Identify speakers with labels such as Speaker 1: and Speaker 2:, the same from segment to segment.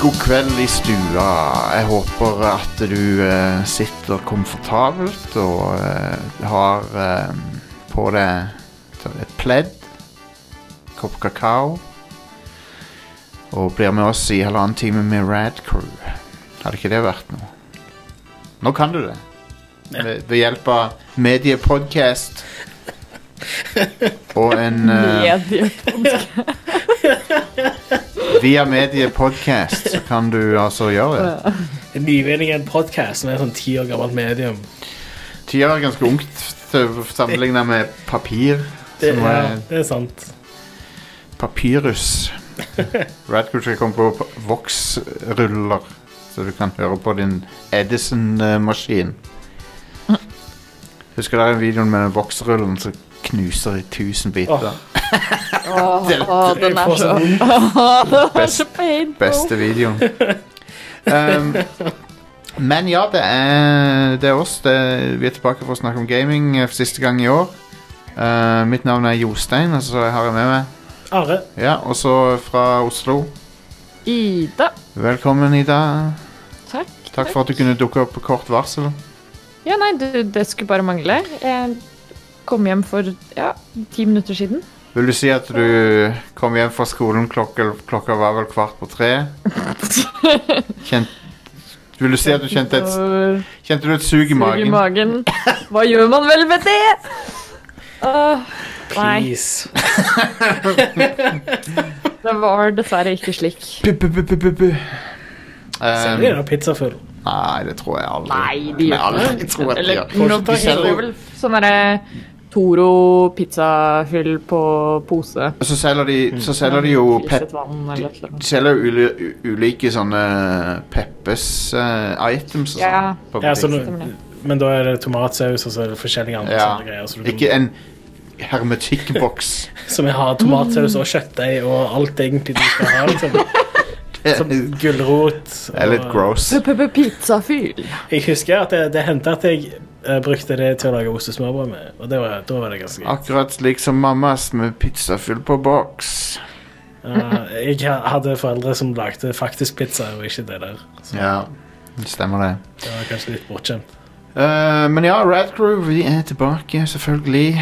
Speaker 1: God kveld i stua. Jeg håper at du eh, sitter komfortabelt og eh, har eh, på deg et pledd, kopp kakao, og blir med oss i halvannen time med Rad Crew. Hadde ikke det vært noe? Nå kan du det.
Speaker 2: Ja.
Speaker 1: Ved, ved hjelp av mediepodcast og en eh, Via mediepodcast så kan du altså gjøre det.
Speaker 2: Nyvinningen podcast, som er sånn ti år gammelt medium.
Speaker 1: Tida er ganske ungt til- sammenlignet med papir,
Speaker 2: Det,
Speaker 1: som
Speaker 2: er,
Speaker 1: er
Speaker 2: det er sant.
Speaker 1: papyrus. Radcrew skal komme på voksruller, så du kan høre på din Edison-maskin. Husker dere videoen med den voksrullen som knuser i tusen biter?
Speaker 2: Åh.
Speaker 3: Åh,
Speaker 1: Det-
Speaker 3: åh, den
Speaker 2: Jeg
Speaker 3: er
Speaker 2: får
Speaker 3: så
Speaker 2: sånn vondt.
Speaker 3: Åh, den er
Speaker 1: Best-
Speaker 3: så painful.
Speaker 1: Beste videoen. Um, men ja, det er, det er oss. Det, vi er tilbake for å snakke om gaming eh, for siste gang i år. Eh, mitt navn er Jostein, og så har jeg med meg
Speaker 2: Are,
Speaker 1: Ja, og så fra Oslo.
Speaker 3: Ida.
Speaker 1: Velkommen, Ida.
Speaker 3: Takk.
Speaker 1: Takk for at du kunne dukke opp på kort varsel.
Speaker 3: Ja, nei, du, det skulle bare mangle. Jeg kom hjem for ja, ti minutter siden.
Speaker 1: Vil du si at du kom hjem fra skolen klokka, klokka var vel kvart på tre? Kjent, vil du si at du kjente et,
Speaker 3: Og
Speaker 1: kjente du et sug i
Speaker 3: sug i
Speaker 1: magen?
Speaker 3: magen. Hva gjør man vel med det? Åh, nei,
Speaker 2: please.
Speaker 3: det var dessverre ikke slik.
Speaker 1: Bu, bu, bu, bu, bu, bu.
Speaker 2: Selv
Speaker 1: Um,
Speaker 2: om jeg er pizzafull.
Speaker 1: Nei, det tror jeg aldri.
Speaker 3: Nei, de gjør
Speaker 1: aldri
Speaker 3: ikke
Speaker 1: jeg tror at de
Speaker 3: Eller
Speaker 1: gjør.
Speaker 3: nå
Speaker 2: De selger
Speaker 3: går
Speaker 1: jo-
Speaker 3: vel sånn derre Toro pizzahyll på pose.
Speaker 1: Og Så selger de, så selger de jo pep,
Speaker 3: Tilsett vann eller et eller annet.
Speaker 1: de selger jo uli- u- ulike sånne Peppes-items og
Speaker 3: Ja.
Speaker 1: sånn. på
Speaker 2: Ja, så
Speaker 1: butikken.
Speaker 2: nå- men da er det tomatsaus og så er det forskjellige andre
Speaker 1: Ja.
Speaker 2: sånne greier. Så du
Speaker 1: Ikke
Speaker 2: kan,
Speaker 1: en hermetikkboks.
Speaker 2: som jeg har tomatsaus og kjøttdeig og alt egentlig du skal ha. Liksom. Som
Speaker 1: det
Speaker 2: gulrot.
Speaker 1: er litt
Speaker 2: og-
Speaker 1: gross.
Speaker 3: P-p-p-pizzafyl.
Speaker 2: Jeg husker at det, det hendte at jeg eh, brukte det til å lage ost og smørbrød med, og det var, da var det ganske gøy.
Speaker 1: Akkurat slik som mammas med pizza full på boks. Ah.
Speaker 2: Eh, jeg ha- hadde foreldre som lagde faktisk pizza, og ikke det der. Så
Speaker 1: Ja, det stemmer det.
Speaker 2: det var kanskje litt bortskjemt.
Speaker 1: Eh, men ja, Radcrew, vi er tilbake selvfølgelig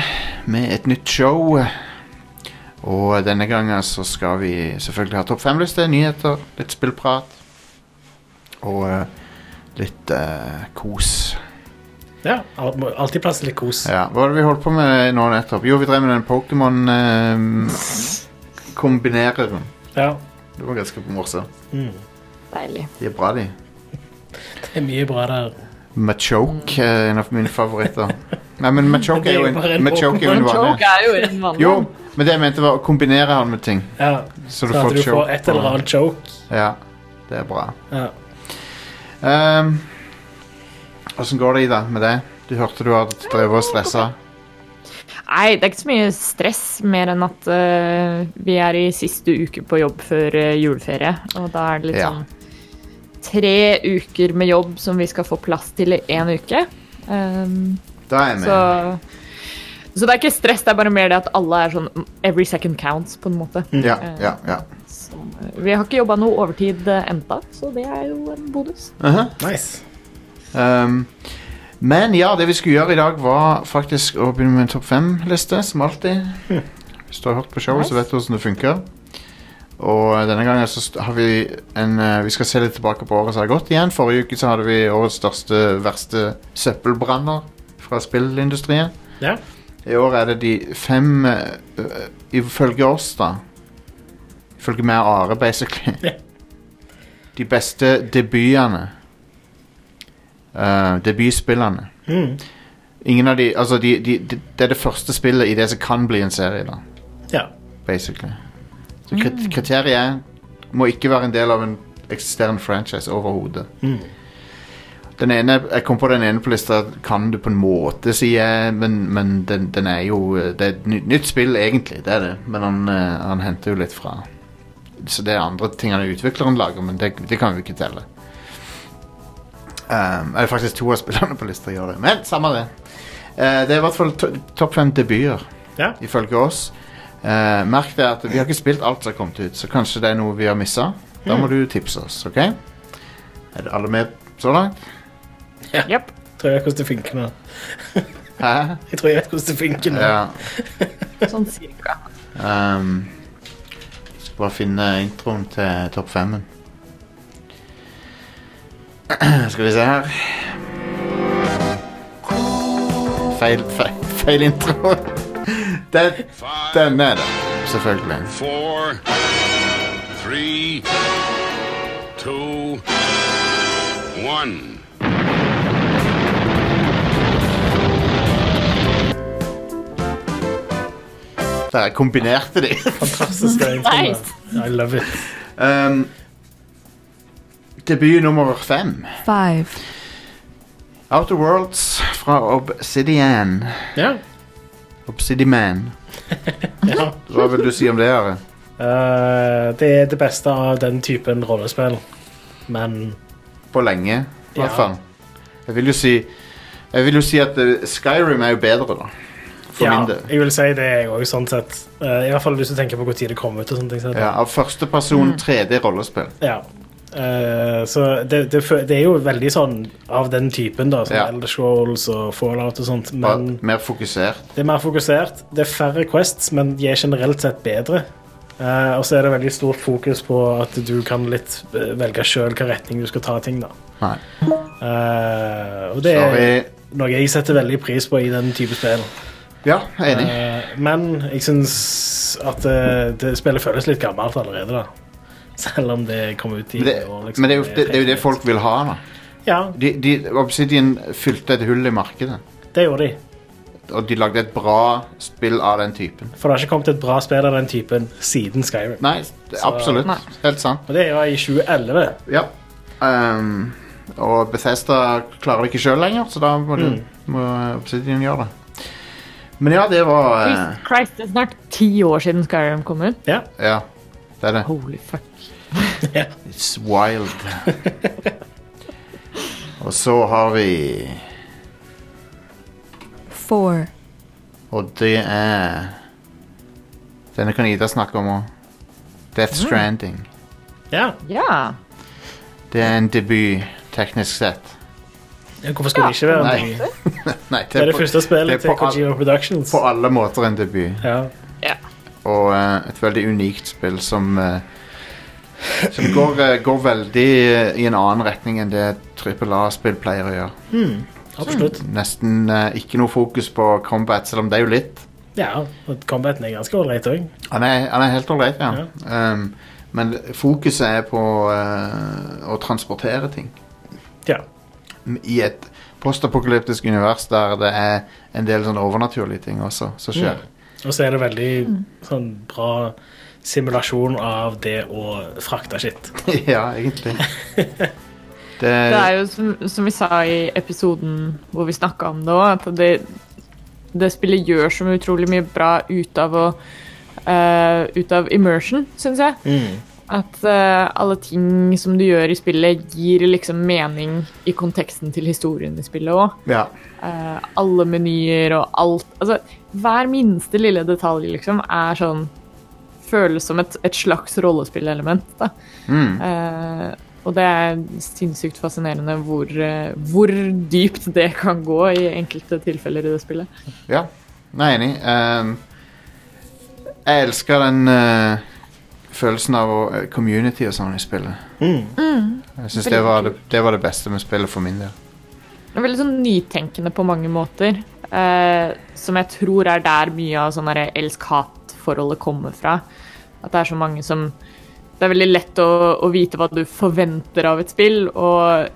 Speaker 1: med et nytt show. Og denne gangen så skal vi selvfølgelig ha topp fem-liste, nyheter, litt spillprat. Og eh, litt eh, kos.
Speaker 2: Ja, al- må- alltid plass til litt kos.
Speaker 1: Ja, Hva var det vi holdt på med nå nettopp? Jo, vi drev med den Pokémon-kombinereren.
Speaker 2: Ja.
Speaker 1: det var ganske morsomt.
Speaker 2: Mm.
Speaker 3: Deilig.
Speaker 1: De er bra, de.
Speaker 2: Det er mye bra der.
Speaker 1: Machoke er en av mine favoritter. Nei, men Machoke er jo en,
Speaker 2: Det er jo bare en
Speaker 1: Machoke er jo en vanlig.
Speaker 3: Choke er jo en vanlig
Speaker 1: Jo, men det jeg mente var å kombinere han med ting.
Speaker 2: Ja,
Speaker 1: Så du
Speaker 2: sånn
Speaker 1: får
Speaker 2: at du
Speaker 1: choke.
Speaker 2: får et eller annet choke.
Speaker 1: Ja, det er bra.
Speaker 2: Ja.
Speaker 1: Ehm, Åssen går det, Ida, med det? Du hørte du hadde drevet og stressa.
Speaker 3: Nei, det er ikke så mye stress, mer enn at eh, vi er i siste uke på jobb før eh, juleferie. Og da er det litt
Speaker 1: Ja.
Speaker 3: sånn tre uker med jobb som vi skal få plass til i én uke. Um,
Speaker 1: Da er jeg
Speaker 3: så,
Speaker 1: med.
Speaker 3: så det er ikke stress, det er bare mer det at alle er sånn every second counts, på en måte.
Speaker 1: Ja, ja, ja.
Speaker 3: Så, eh, vi har ikke jobba noe overtid eh, enda, så det er jo en bonus.
Speaker 1: Aha.
Speaker 2: Nice.
Speaker 1: Ehm, men ja, det vi skulle gjøre i dag, var faktisk å begynne med en topp fem-liste, som alltid. Hvis du har hørt på showet, så
Speaker 3: Nice.
Speaker 1: vet du hvordan det funker. Og eh, denne gangen så st- har vi en eh, Vi skal se litt tilbake på året som har gått igjen. Forrige uke så hadde vi årets største, verste søppelbranner fra spillindustrien.
Speaker 2: Ja.
Speaker 1: I år er det de fem eh, øh, Ifølge oss, da. Ifølge meg og Are, basically.
Speaker 2: Ja.
Speaker 1: De beste debutene. Eh, debutspillene.
Speaker 2: Mm.
Speaker 1: Ingen av de Altså, de, de, de, det er det første spillet i det som kan bli en serie, da.
Speaker 2: ja.
Speaker 1: Basically. Så kri- kriteriet er må ikke være en del av en eksisterende franchise overhodet.
Speaker 2: Mm.
Speaker 1: Den ene, jeg kom på den ene på lista Kan du på en måte, sier jeg Men, men den, den er jo eh, Det er et nytt, nytt spill egentlig, det er det Men han, eh, han henter jo litt fra Så det er andre ting han utvikleren lager Men det, det kan vi ikke telle um, Eller faktisk to av spillerne på lista gjør det Men samme det Eh, Det er i hvert fall to, topp fem debuter
Speaker 2: Ja.
Speaker 1: Ifølge oss Eh, Merk det at vi har ikke spilt alt som har kommet ut Så kanskje det er noe vi har misset Da må du tipse oss, OK? Er det alle med så langt?
Speaker 3: Jepp.
Speaker 2: Tror jeg vet hvordan det funker nå.
Speaker 1: Hæ?
Speaker 2: Jeg tror jeg vet hvordan det funker nå.
Speaker 1: Ja.
Speaker 3: Sånn cirka.
Speaker 1: Um, skal bare finne introen til topp femmen. skal vi se her Feil, feil, feil intro. Den, den er det, selvfølgelig.
Speaker 4: four, three, two, one.
Speaker 1: Der jeg kombinerte de.
Speaker 2: Fantastisk. det er en ting, da.
Speaker 3: Nice.
Speaker 2: I love it.
Speaker 1: um, debut nummer fem.
Speaker 5: Five,
Speaker 1: Outer Worlds fra Obsidian.
Speaker 2: Ja.
Speaker 1: Obsidiman.
Speaker 2: ja.
Speaker 1: Hva vil du si om det, Are?
Speaker 2: Eh, det er det beste av den typen rollespill, men
Speaker 1: på lenge, i hvert
Speaker 2: Ja.
Speaker 1: fall. Jeg vil jo si Jeg vil jo si at eh, Skyrim er jo bedre, da. For
Speaker 2: ja,
Speaker 1: min del.
Speaker 2: jeg vil si det er jeg òg, sånn sett. Eh, I hvert fall hvis du tenker på når det kom ut. og sånne ting. så-
Speaker 1: Ja, av
Speaker 2: Mm.
Speaker 1: førsteperson 3D-rollespill.
Speaker 2: Ja. Eh, så det, det, fø- det er jo veldig sånn av den typen, da. Sånn
Speaker 1: Ja.
Speaker 2: Elder Scrolls og Fallout og sånt.
Speaker 1: Bare
Speaker 2: Men
Speaker 1: Mer fokusert.
Speaker 2: det er mer fokusert. Det er færre quests, men de er generelt sett bedre. Eh, og så er det veldig stort fokus på at du kan litt eh, velge sjøl hvilken retning du skal ta ting, da.
Speaker 1: Nei.
Speaker 2: Eh, og det er
Speaker 1: Sorry.
Speaker 2: noe jeg setter veldig pris på i den type spill.
Speaker 1: Ja, enig.
Speaker 2: Eh, men jeg syns at eh, det spillet føles litt gammelt allerede, da. Selv om det kom ut i
Speaker 1: Men det,
Speaker 2: år. liksom.
Speaker 1: men det, er jo, det, det er jo det folk vil ha, da.
Speaker 2: Ja,
Speaker 1: De, de, Obsidian fylte et hull i markedet.
Speaker 2: det gjorde de.
Speaker 1: Og de lagde et bra spill av den typen.
Speaker 2: For det har ikke kommet et bra spill av den typen siden Skyrim.
Speaker 1: Nei, det- absolutt.
Speaker 3: Nei.
Speaker 1: Helt sant.
Speaker 2: Og det var i 2011.
Speaker 1: Ja. Ehm, og Bethesda klarer det ikke sjøl lenger, så da må, du,
Speaker 2: Mm.
Speaker 1: må Obsidian gjøre det. Men ja, det var eh,
Speaker 3: Jesus Christ, det er snart ti år siden Skyrim kom ut.
Speaker 2: Ja.
Speaker 1: Ja, det er det.
Speaker 3: Holy fuck.
Speaker 1: It's wild. og så har vi
Speaker 5: four,
Speaker 1: Og det er Denne kan Ida snakke om òg. Death
Speaker 2: Mm.
Speaker 1: Stranding.
Speaker 2: ja.
Speaker 3: Ja.
Speaker 1: Det er en debut, teknisk sett.
Speaker 2: Hvorfor skulle det ikke være
Speaker 1: Nei.
Speaker 2: en debut?
Speaker 1: Nei,
Speaker 2: Det er det
Speaker 1: på-
Speaker 2: første
Speaker 1: det er
Speaker 2: spillet til
Speaker 1: på, al
Speaker 2: Kojima Productions.
Speaker 1: på alle måter en debut.
Speaker 2: Ja.
Speaker 1: og eh, et veldig unikt spill som eh, som går, eh, går veldig eh, i en annen retning enn det trippel A-spill pleier å gjøre.
Speaker 2: Absolutt.
Speaker 1: Nesten eh, ikke noe fokus på combat, selv om det er jo litt.
Speaker 2: Ja, og Combaten er ganske ålreit òg.
Speaker 1: Han er, han er helt ålreit, ja. Um, men fokuset er på eh, å transportere ting
Speaker 2: Ja.
Speaker 1: i et postapokalyptisk univers der det er en del sånne overnaturlige ting også som skjer.
Speaker 2: Og så er det veldig sånn bra simulasjon av det å frakte skitt.
Speaker 1: ja, egentlig. Det,
Speaker 3: Det er jo som, som vi sa i episoden hvor vi snakka om det òg, at det, det spillet gjør så utrolig mye bra ut av å eh, Ut av immersion, syns jeg. At eh, alle ting som du gjør i spillet, gir liksom mening i konteksten til historien i spillet òg.
Speaker 1: ja.
Speaker 3: Eh, alle menyer og alt Altså, hver minste lille detalj, liksom, er sånn Føles som et, et slags rollespillelement, da. Eh, og det er sinnssykt fascinerende hvor, eh, hvor dypt det kan gå i enkelte tilfeller i det spillet.
Speaker 1: Ja, nei, enig. Ehm, jeg elsker den eh, følelsen av å- eh, community og sånn i spillet.
Speaker 3: Mm.
Speaker 1: Jeg syns det, var det, det var det beste med spillet for min del.
Speaker 3: Det er veldig sånn nytenkende på mange måter, eh, som jeg tror er der mye av sånn derre elsk-hat-forholdet kommer fra. At det er så mange som Det er veldig lett å, å vite hva du forventer av et spill, og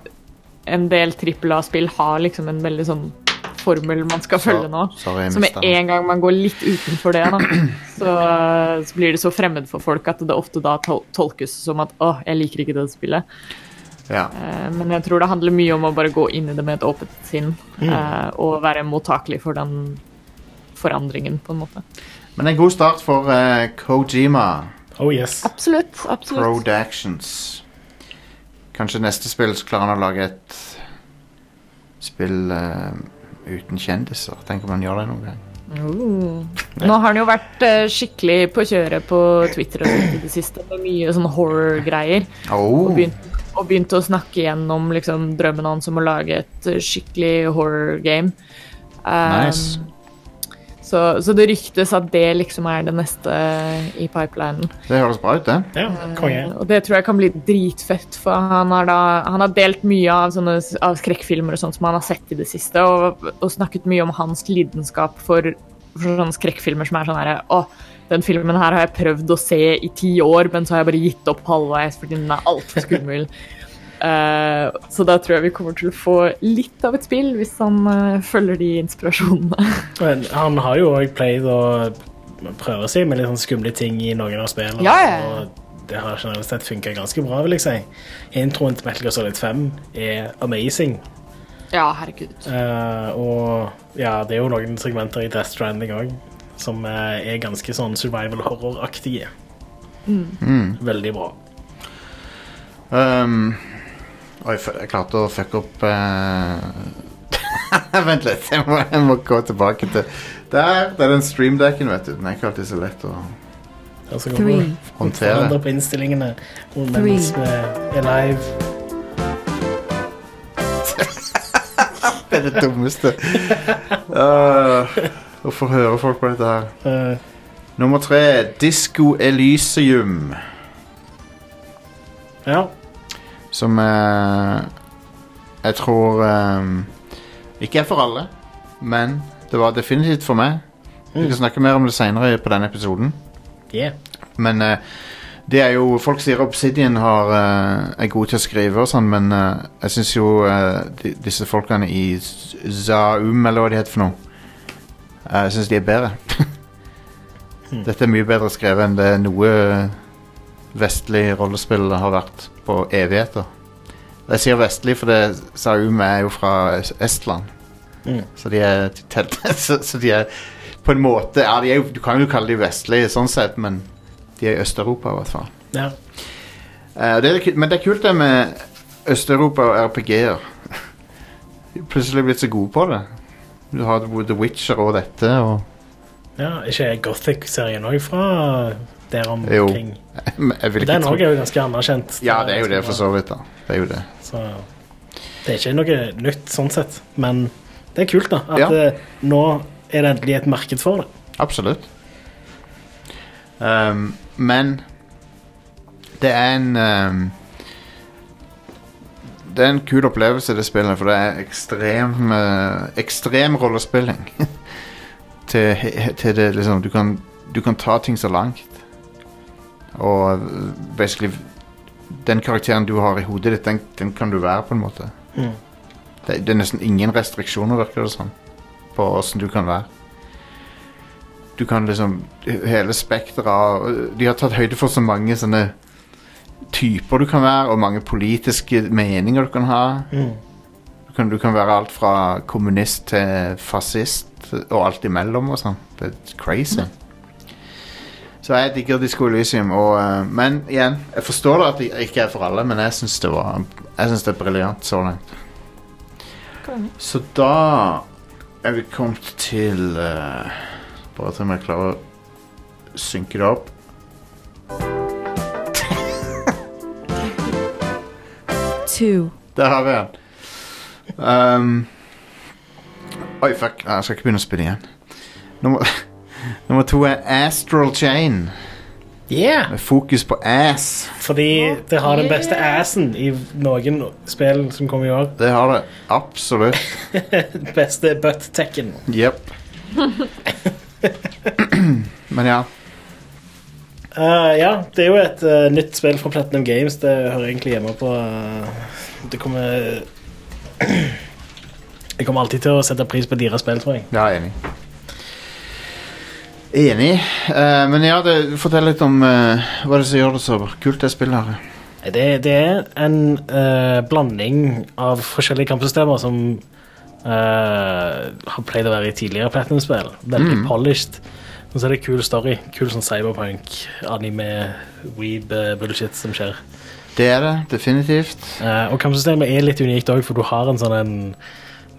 Speaker 3: en del trippel A-spill har liksom en veldig sånn formel man skal
Speaker 1: Så-
Speaker 3: følge nå.
Speaker 1: sorry, jeg
Speaker 3: Så med
Speaker 1: mistet den.
Speaker 3: en gang man går litt utenfor det, da, så, så blir det så fremmed for folk at det ofte da tol tolkes som at å, jeg liker ikke det spillet.
Speaker 1: Ja.
Speaker 3: Eh, Men jeg tror det handler mye om å bare gå inn i det med et åpent sinn.
Speaker 1: Mm.
Speaker 3: eh, Og være mottakelig for den forandringen, på en måte.
Speaker 1: Men en god start for eh, Kojima.
Speaker 2: Oh yes.
Speaker 3: Absolutt. absolutt.
Speaker 1: Productions. Kanskje neste spill så klarer han å lage et spill eh, uten kjendiser. Tenk om han gjør det noen gang.
Speaker 3: Mm. Nå har han jo vært eh, skikkelig på kjøret på Twitter og sånt i det siste med mye sånn horror-greier. Og,
Speaker 1: Oh,
Speaker 3: begynt, og begynte å snakke gjennom liksom, drømmen hans om å lage et eh, skikkelig horror-game. Um,
Speaker 1: nice.
Speaker 3: så, så det ryktes at det liksom er det neste i pipelinen.
Speaker 1: Det høres bra ut, det.
Speaker 2: Ja, konge.
Speaker 3: Og det tror jeg kan bli dritfett, for han har, da, han har delt mye av, sånne, av skrekkfilmer og sånt som han har sett i det siste, og, og snakket mye om hans lidenskap for, for sånne skrekkfilmer som er sånn herre Å, den filmen her har jeg prøvd å se i ti år, men så har jeg bare gitt opp halvveis fordi den er altfor skummel. Eh, så da tror jeg vi kommer til å få litt av et spill, hvis han eh, følger de inspirasjonene.
Speaker 2: Men han har jo òg pleid å prøve seg med litt sånn skumle ting i noen av spillene.
Speaker 3: Ja, ja.
Speaker 2: Og det har generelt sett funka ganske bra, vil jeg si. Introen til Metal Gear Solid 5 er amazing.
Speaker 3: ja, herregud.
Speaker 2: Eh, og ja, det er jo noen segmenter i Death Stranding òg som eh, er ganske sånn survival horror-aktige. Veldig bra.
Speaker 1: Um, oi, f- jeg klarte å fucke opp eh. Vent litt, jeg må, jeg må gå tilbake til Der! Det er den streamdekken, vet du. Den er ikke alltid så lett å
Speaker 2: Der så går
Speaker 5: Three,
Speaker 2: vi
Speaker 1: håndtere.
Speaker 2: forandre på innstillingene og mens vi er live.
Speaker 1: Det er det dummeste. Uh, å få høre folk på dette her.
Speaker 2: Eh,
Speaker 1: Nummer tre, Disco Elysium.
Speaker 2: ja.
Speaker 1: Som eh, jeg tror eh, ikke er for alle, men det var definitivt for meg. Vi skal snakke mer om det seinere på denne episoden.
Speaker 2: Yeah.
Speaker 1: Men eh, det er jo Folk sier Obsidian har, eh, er god til å skrive og sånn, men eh, jeg syns jo eh, di- disse folkene i Z- Zaum, eller hva de heter for noe, eh, jeg syns de er bedre. Dette er mye bedre skrevet enn det noe eh, vestlig rollespill har vært på evigheter. Jeg sier vestlig, for det Zaum er jo fra Es- Estland.
Speaker 2: Mm.
Speaker 1: Så de er så, så de er på en måte ja, de er jo, Du kan jo kalle de vestlige sånn sett, men de er i Øst-Europa, i hvert fall.
Speaker 2: Ja.
Speaker 1: Eh, det er, ku- men det er kult det med Øst-Europa og RPG-er. De er plutselig blitt så gode på det. Du har The Witcher og dette og
Speaker 2: ja. Ikke er Gothic-serien òg fra der omkring?
Speaker 1: Jeg vil ikke
Speaker 2: Den òg er jo ganske anerkjent.
Speaker 1: Ja, det er jo det, for så vidt. da Det er jo det.
Speaker 2: Så det er ikke noe nytt sånn sett, men det er kult, da. At
Speaker 1: Ja.
Speaker 2: eh, nå er det endelig et marked for det.
Speaker 1: Absolutt. Ehm, men det er en ehm, Det er en kul opplevelse, det spillet, for det er ekstrem eh, ekstrem rollespilling. til, he- til det liksom du kan, du kan ta ting så langt. Og eh, basically Den karakteren du har i hodet ditt, den, den kan du være, på en måte.
Speaker 2: Mm.
Speaker 1: Det, det er nesten ingen restriksjoner, virker det som, på åssen du kan være du kan liksom Hele spekteret av De har tatt høyde for så mange sånne typer du kan være, og mange politiske meninger du kan ha.
Speaker 2: Mm.
Speaker 1: Du kan, du kan være alt fra kommunist til fascist og alt imellom og sånn. Det er crazy. Så jeg digger Disco Elysium. Og, eh, men igjen, jeg forstår da at det ikke er for alle, men jeg syns det, var- jeg synes det er briljant så langt.
Speaker 3: Konge.
Speaker 1: Så da er vi kommet til eh, Bare til om jeg klarer å synke det opp.
Speaker 5: two,
Speaker 1: Der har vi den. Um, oi, fuck. Nei, Jeg skal ikke begynne å spille igjen. Nummer, nummer to er Astral Chain.
Speaker 2: Yeah!
Speaker 1: Med fokus på ass.
Speaker 2: Fordi det har den beste assen i noen spill som kommer i år.
Speaker 1: Det har det. Absolutt.
Speaker 2: Den beste butt-tekken.
Speaker 1: Jepp. Men ja.
Speaker 2: Eh, ja, det er jo et eh, nytt spill fra Platinum Games. Det hører egentlig hjemme på eh, Det kommer Jeg kommer alltid til å sette pris på deres spill, tror jeg.
Speaker 1: Ja, enig. Enig. Eh, men ja, det, fortell litt om eh, hva det er som gjør det så kult, det spillet her.
Speaker 2: Det, det er en eh, blanding av forskjellige kampsystemer som eh, har pleid å være i tidligere Platinum-spill. Veldig polished. Men så er det kul story. Kul sånn cyberpunk, anime, weeb, eh, bullshit som skjer.
Speaker 1: Det er det, definitivt.
Speaker 2: Eh, og kampsystemet er litt unikt òg, for du har en sånn en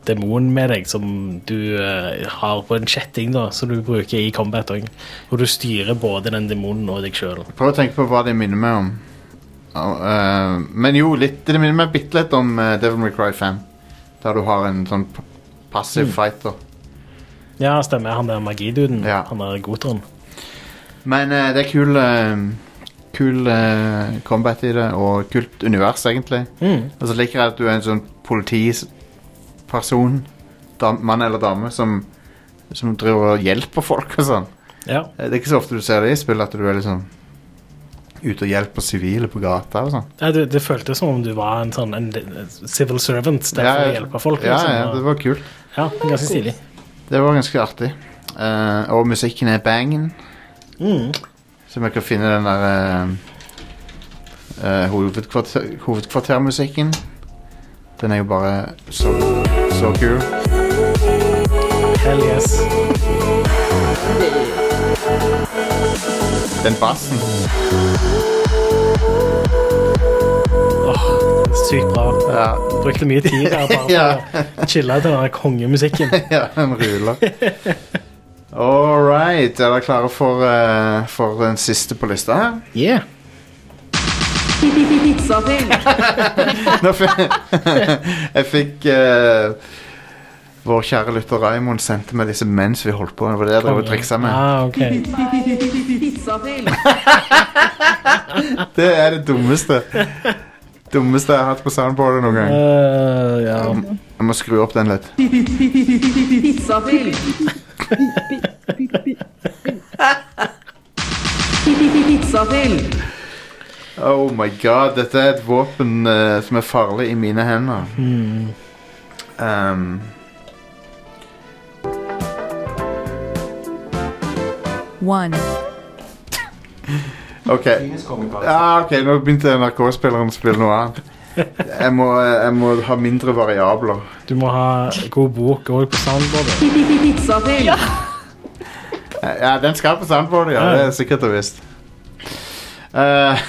Speaker 2: demon med deg som du eh, har på en kjetting, da, som du bruker i combat òg. Hvor du styrer både den demonen og deg sjøl.
Speaker 1: Prøv å tenke på hva det minner meg om. Og, eh, men jo, litt, det minner meg bitte litt om eh, Devil May Cry 5. Der du har en sånn p- passiv fighter.
Speaker 2: Ja, stemmer. Han der magiduden.
Speaker 1: Ja.
Speaker 2: Han der goteren.
Speaker 1: Men eh, det er kul eh, Kul eh, combat i det, og kult univers, egentlig.
Speaker 2: Mm.
Speaker 1: Og så liker jeg at du er en sånn politiperson, dam, mann eller dame, som, som driver og hjelper folk og sånn.
Speaker 2: Ja.
Speaker 1: Eh, Det er ikke så ofte du ser det i spill, at du er liksom ute og hjelper sivile på gata og sånn.
Speaker 2: Ja, det, det føltes som om du var en sånn en, en civil servant der for å hjelpe folk.
Speaker 1: Ja,
Speaker 2: liksom.
Speaker 1: ja, det var kult.
Speaker 2: ja, ganske stilig.
Speaker 1: Det var ganske artig. Eh, og musikken er bangen,
Speaker 2: Mm.
Speaker 1: så vi kan finne den der eh, eh, hovedkvarter, hovedkvartermusikken. Den er jo bare så, så kul.
Speaker 2: Hell yes.
Speaker 1: Den bassen.
Speaker 2: Sykt bra.
Speaker 1: Ja,
Speaker 2: Brukte mye tid der bare for å chille til den der kongemusikken.
Speaker 1: ja den ruler. All right. Er dere klare for, eh, for den siste på lista her?
Speaker 2: Yeah.
Speaker 1: Nå fi- jeg fikk eh, Vår kjære lytter Raymond sendte meg disse mens vi holdt på. Det var det jeg drev og triksa med.
Speaker 2: Ah, ok.
Speaker 1: Det er det dummeste Dummeste jeg har hatt på soundboardet noen gang.
Speaker 2: Eh, ja.
Speaker 1: Jeg må skru opp den litt. Oh my god, dette er et våpen eh, som er farlig i mine hender. Um,
Speaker 5: one,
Speaker 1: ok, ja, ok, nå begynte NRK-spilleren å spille noe annet. Jeg må, eh, jeg må ha mindre variabler.
Speaker 2: Du må ha god bok òg på soundboardet.
Speaker 1: Ja, den skal på soundboardet, ja. Det er sikkert og visst. Eh,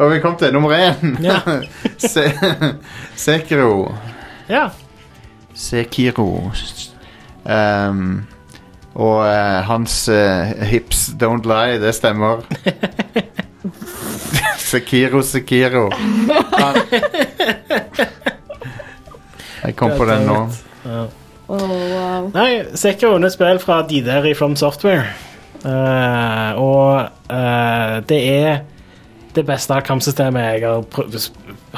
Speaker 1: og vi kom til nummer én.
Speaker 2: Ja.
Speaker 1: Se Sekiro.
Speaker 2: Ja.
Speaker 1: Sekiro. Ehm, og eh, hans eh, hips don't lie, det stemmer. Sekiro, Sekiro. Han... Jeg kom på den nå.
Speaker 2: Ja.
Speaker 3: Oh, wow.
Speaker 2: Nei, Sekiro er et spill fra de der i From Software. Eh, og eh, det er det beste kampsystemet jeg har prøv- s-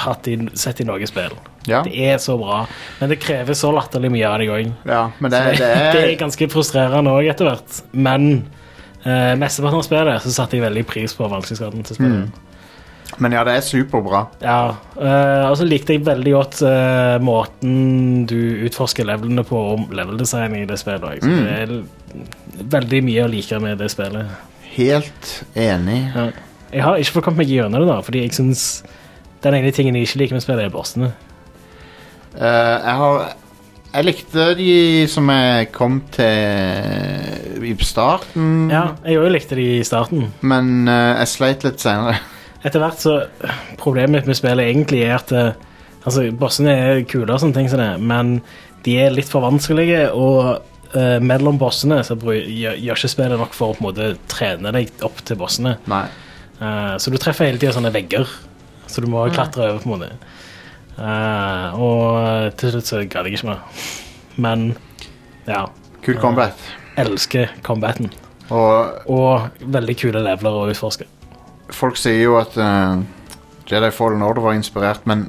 Speaker 2: hatt i, sett i noe spill.
Speaker 1: Ja,
Speaker 2: Det er så bra, men det krever så latterlig mye av deg òg.
Speaker 1: ja men det, det
Speaker 2: Det er
Speaker 1: er
Speaker 2: ganske frustrerende òg etter hvert, men uh, mesteparten av spillet så satte jeg veldig pris på vanskelighetsgraden til
Speaker 1: Mm.
Speaker 2: spillet.
Speaker 1: Men ja, det er superbra.
Speaker 2: Ja, eh, og så likte jeg veldig godt eh, måten du utforsker levelene på om leveldesign i det spillet. også. Så Det er l- veldig mye å like med det spillet.
Speaker 1: Helt enig.
Speaker 2: Ja. Jeg har ikke fått kommet meg gjennom det, da, fordi jeg synes den ene tingen jeg ikke liker med spillet, er bossene.
Speaker 1: Eh, jeg har Jeg likte de som jeg kom til i starten,
Speaker 2: Ja, jeg òg likte de i starten.
Speaker 1: men eh, jeg sleit litt senere.
Speaker 2: Etter hvert så Problemet mitt med spillet egentlig er at eh, Altså, bossene er kule og sånne ting som det, men de er litt for vanskelige, og eh, mellom bossene så bru- gjør, gjør ikke spillet nok for å på en måte trene deg opp til bossene.
Speaker 1: Nei.
Speaker 2: Eh, så du treffer hele tida sånne vegger, så du må klatre over på en måte. Eh, og til slutt så gadd jeg ikke mer. Men ja.
Speaker 1: Kul combat.
Speaker 2: Elsker combaten.
Speaker 1: Og
Speaker 2: Og veldig kule leveler å utforske.
Speaker 1: folk sier jo at eh, Jedi Fallen Order var inspirert, men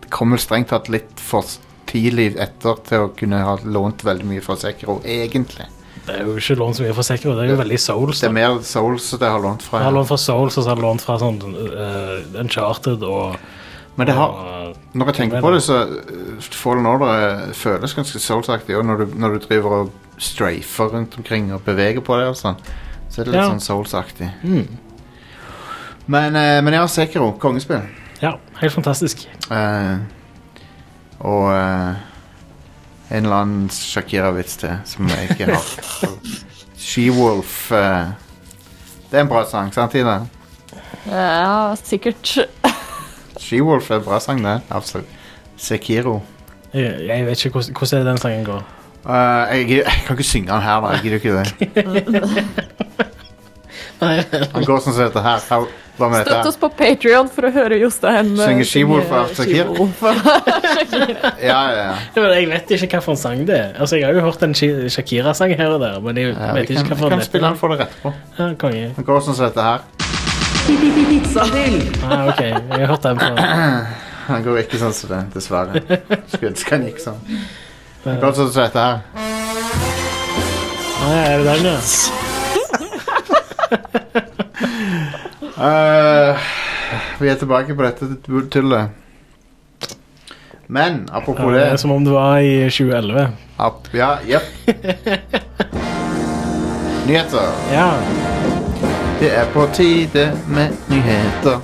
Speaker 1: det kom vel strengt tatt litt for tidlig etter til å kunne ha lånt veldig mye fra Sekiro, egentlig.
Speaker 2: Det er jo ikke lånt så mye for Sekiro, det er jo veldig souls.
Speaker 1: Det er mer Souls det har lånt fra.
Speaker 2: Jeg har lånt fra Souls og så har jeg lånt fra sånn eh, Uncharted og
Speaker 1: Men det har
Speaker 2: og-
Speaker 1: Når jeg tenker på det, så uh, Fallen Order eh, føles ganske soulsaktig også når, du- når du driver og strafer rundt omkring og beveger på deg og sånn. Så er det litt
Speaker 2: Ja.
Speaker 1: sånn soulsaktig.
Speaker 2: Mm.
Speaker 1: Men, eh, men ja, Sekiro. Kongespill.
Speaker 2: Ja, helt fantastisk.
Speaker 1: Eh, og eh, en eller annen Shakira-vits til som jeg ikke har. She-Wolf. eh, det er en bra sang, sant, Ida?
Speaker 3: Ja, sikkert.
Speaker 1: She-Wolf er en bra sang, det. Absolutt. Sekiro.
Speaker 2: Jeg, jeg vet ikke hvordan, hvordan er det den sangen går.
Speaker 1: Eh, jeg, gidder- jeg kan ikke synge den her, da. Jeg gidder ikke det. Han går sånn som dette her. Hva hva med dette?
Speaker 3: Støtt
Speaker 1: her?
Speaker 3: oss på Patreon for å høre Jostein eh,
Speaker 1: Synge She-Wolf av Shakira.
Speaker 3: She-Wolf.
Speaker 1: Ja, ja, ja.
Speaker 2: Ja, men Jeg vet ikke hvilken sang det er. Altså, Jeg har jo hørt en Shi- Shakira-sang her og der, men jeg
Speaker 1: ja
Speaker 2: vet
Speaker 1: vi
Speaker 2: ikke
Speaker 1: kan, vi
Speaker 2: hvilken
Speaker 1: kan spille den for deg etterpå.
Speaker 2: Ja, konge.
Speaker 1: Han går sånn som dette her.
Speaker 2: Ah, ok, jeg har hørt den før. Ah,
Speaker 1: Han går ikke sånn som det, dessverre. Skulle ønske han gikk sånn. Han går sånn som dette her.
Speaker 2: Ah, ja, er det den, ja?
Speaker 1: Eh, vi er tilbake på dette tullet. Men apropos
Speaker 2: Ja, det er
Speaker 1: det
Speaker 2: Som om det var i 2011.
Speaker 1: ap Ja, jepp. Nyheter.
Speaker 2: Ja.
Speaker 1: Det er på tide med nyheter.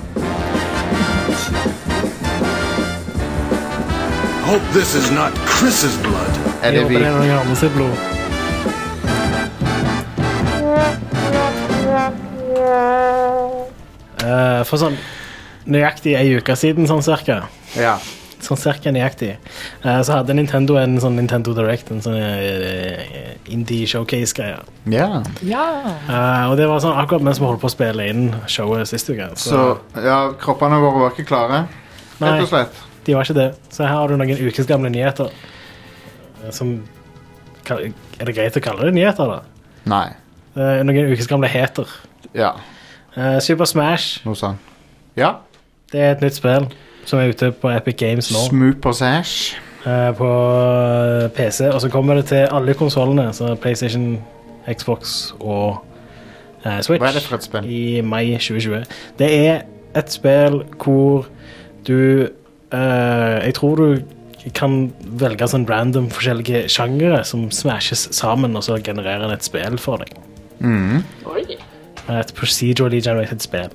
Speaker 4: Hope this is not Chris's blood.
Speaker 1: Er det
Speaker 2: Jeg håper
Speaker 1: vi
Speaker 2: det er noen andre sitt blod. Eh, for sånn nøyaktig ei uke siden, sånn cirka,
Speaker 1: Ja.
Speaker 2: sånn cirka nøyaktig, eh, så hadde Nintendo en sånn Nintendo Direct, en sånn eh, indie showcase-greie.
Speaker 1: ja.
Speaker 3: Ja.
Speaker 2: Eh, og det var sånn akkurat mens vi holdt på å spille inn showet sist uke.
Speaker 1: Så ja, kroppene våre var ikke klare, rett
Speaker 2: Nei.
Speaker 1: og slett.
Speaker 2: De var ikke det. Så her har du noen ukes gamle nyheter. eh, Som kall- Er det greit å kalle det nyheter, da?
Speaker 1: Nei.
Speaker 2: Eh, Noen ukes gamle heter.
Speaker 1: Ja,
Speaker 2: Eh, Super Smash
Speaker 1: noe sånt. Ja.
Speaker 2: det er et nytt spill som er ute på Epic Games nå.
Speaker 1: Smooper sash.
Speaker 2: eh, På eh, PC. Og så kommer det til alle konsollene. Så PlayStation, Xbox og eh, Switch.
Speaker 1: Hva er det for et spill?
Speaker 2: I mai 2020. Det er et spill hvor du eh, Jeg tror du kan velge sånn random forskjellige sjangere som smashes sammen, og så genererer den et spill for deg.
Speaker 3: Oi.
Speaker 2: Eh, Et procedurally generated spill.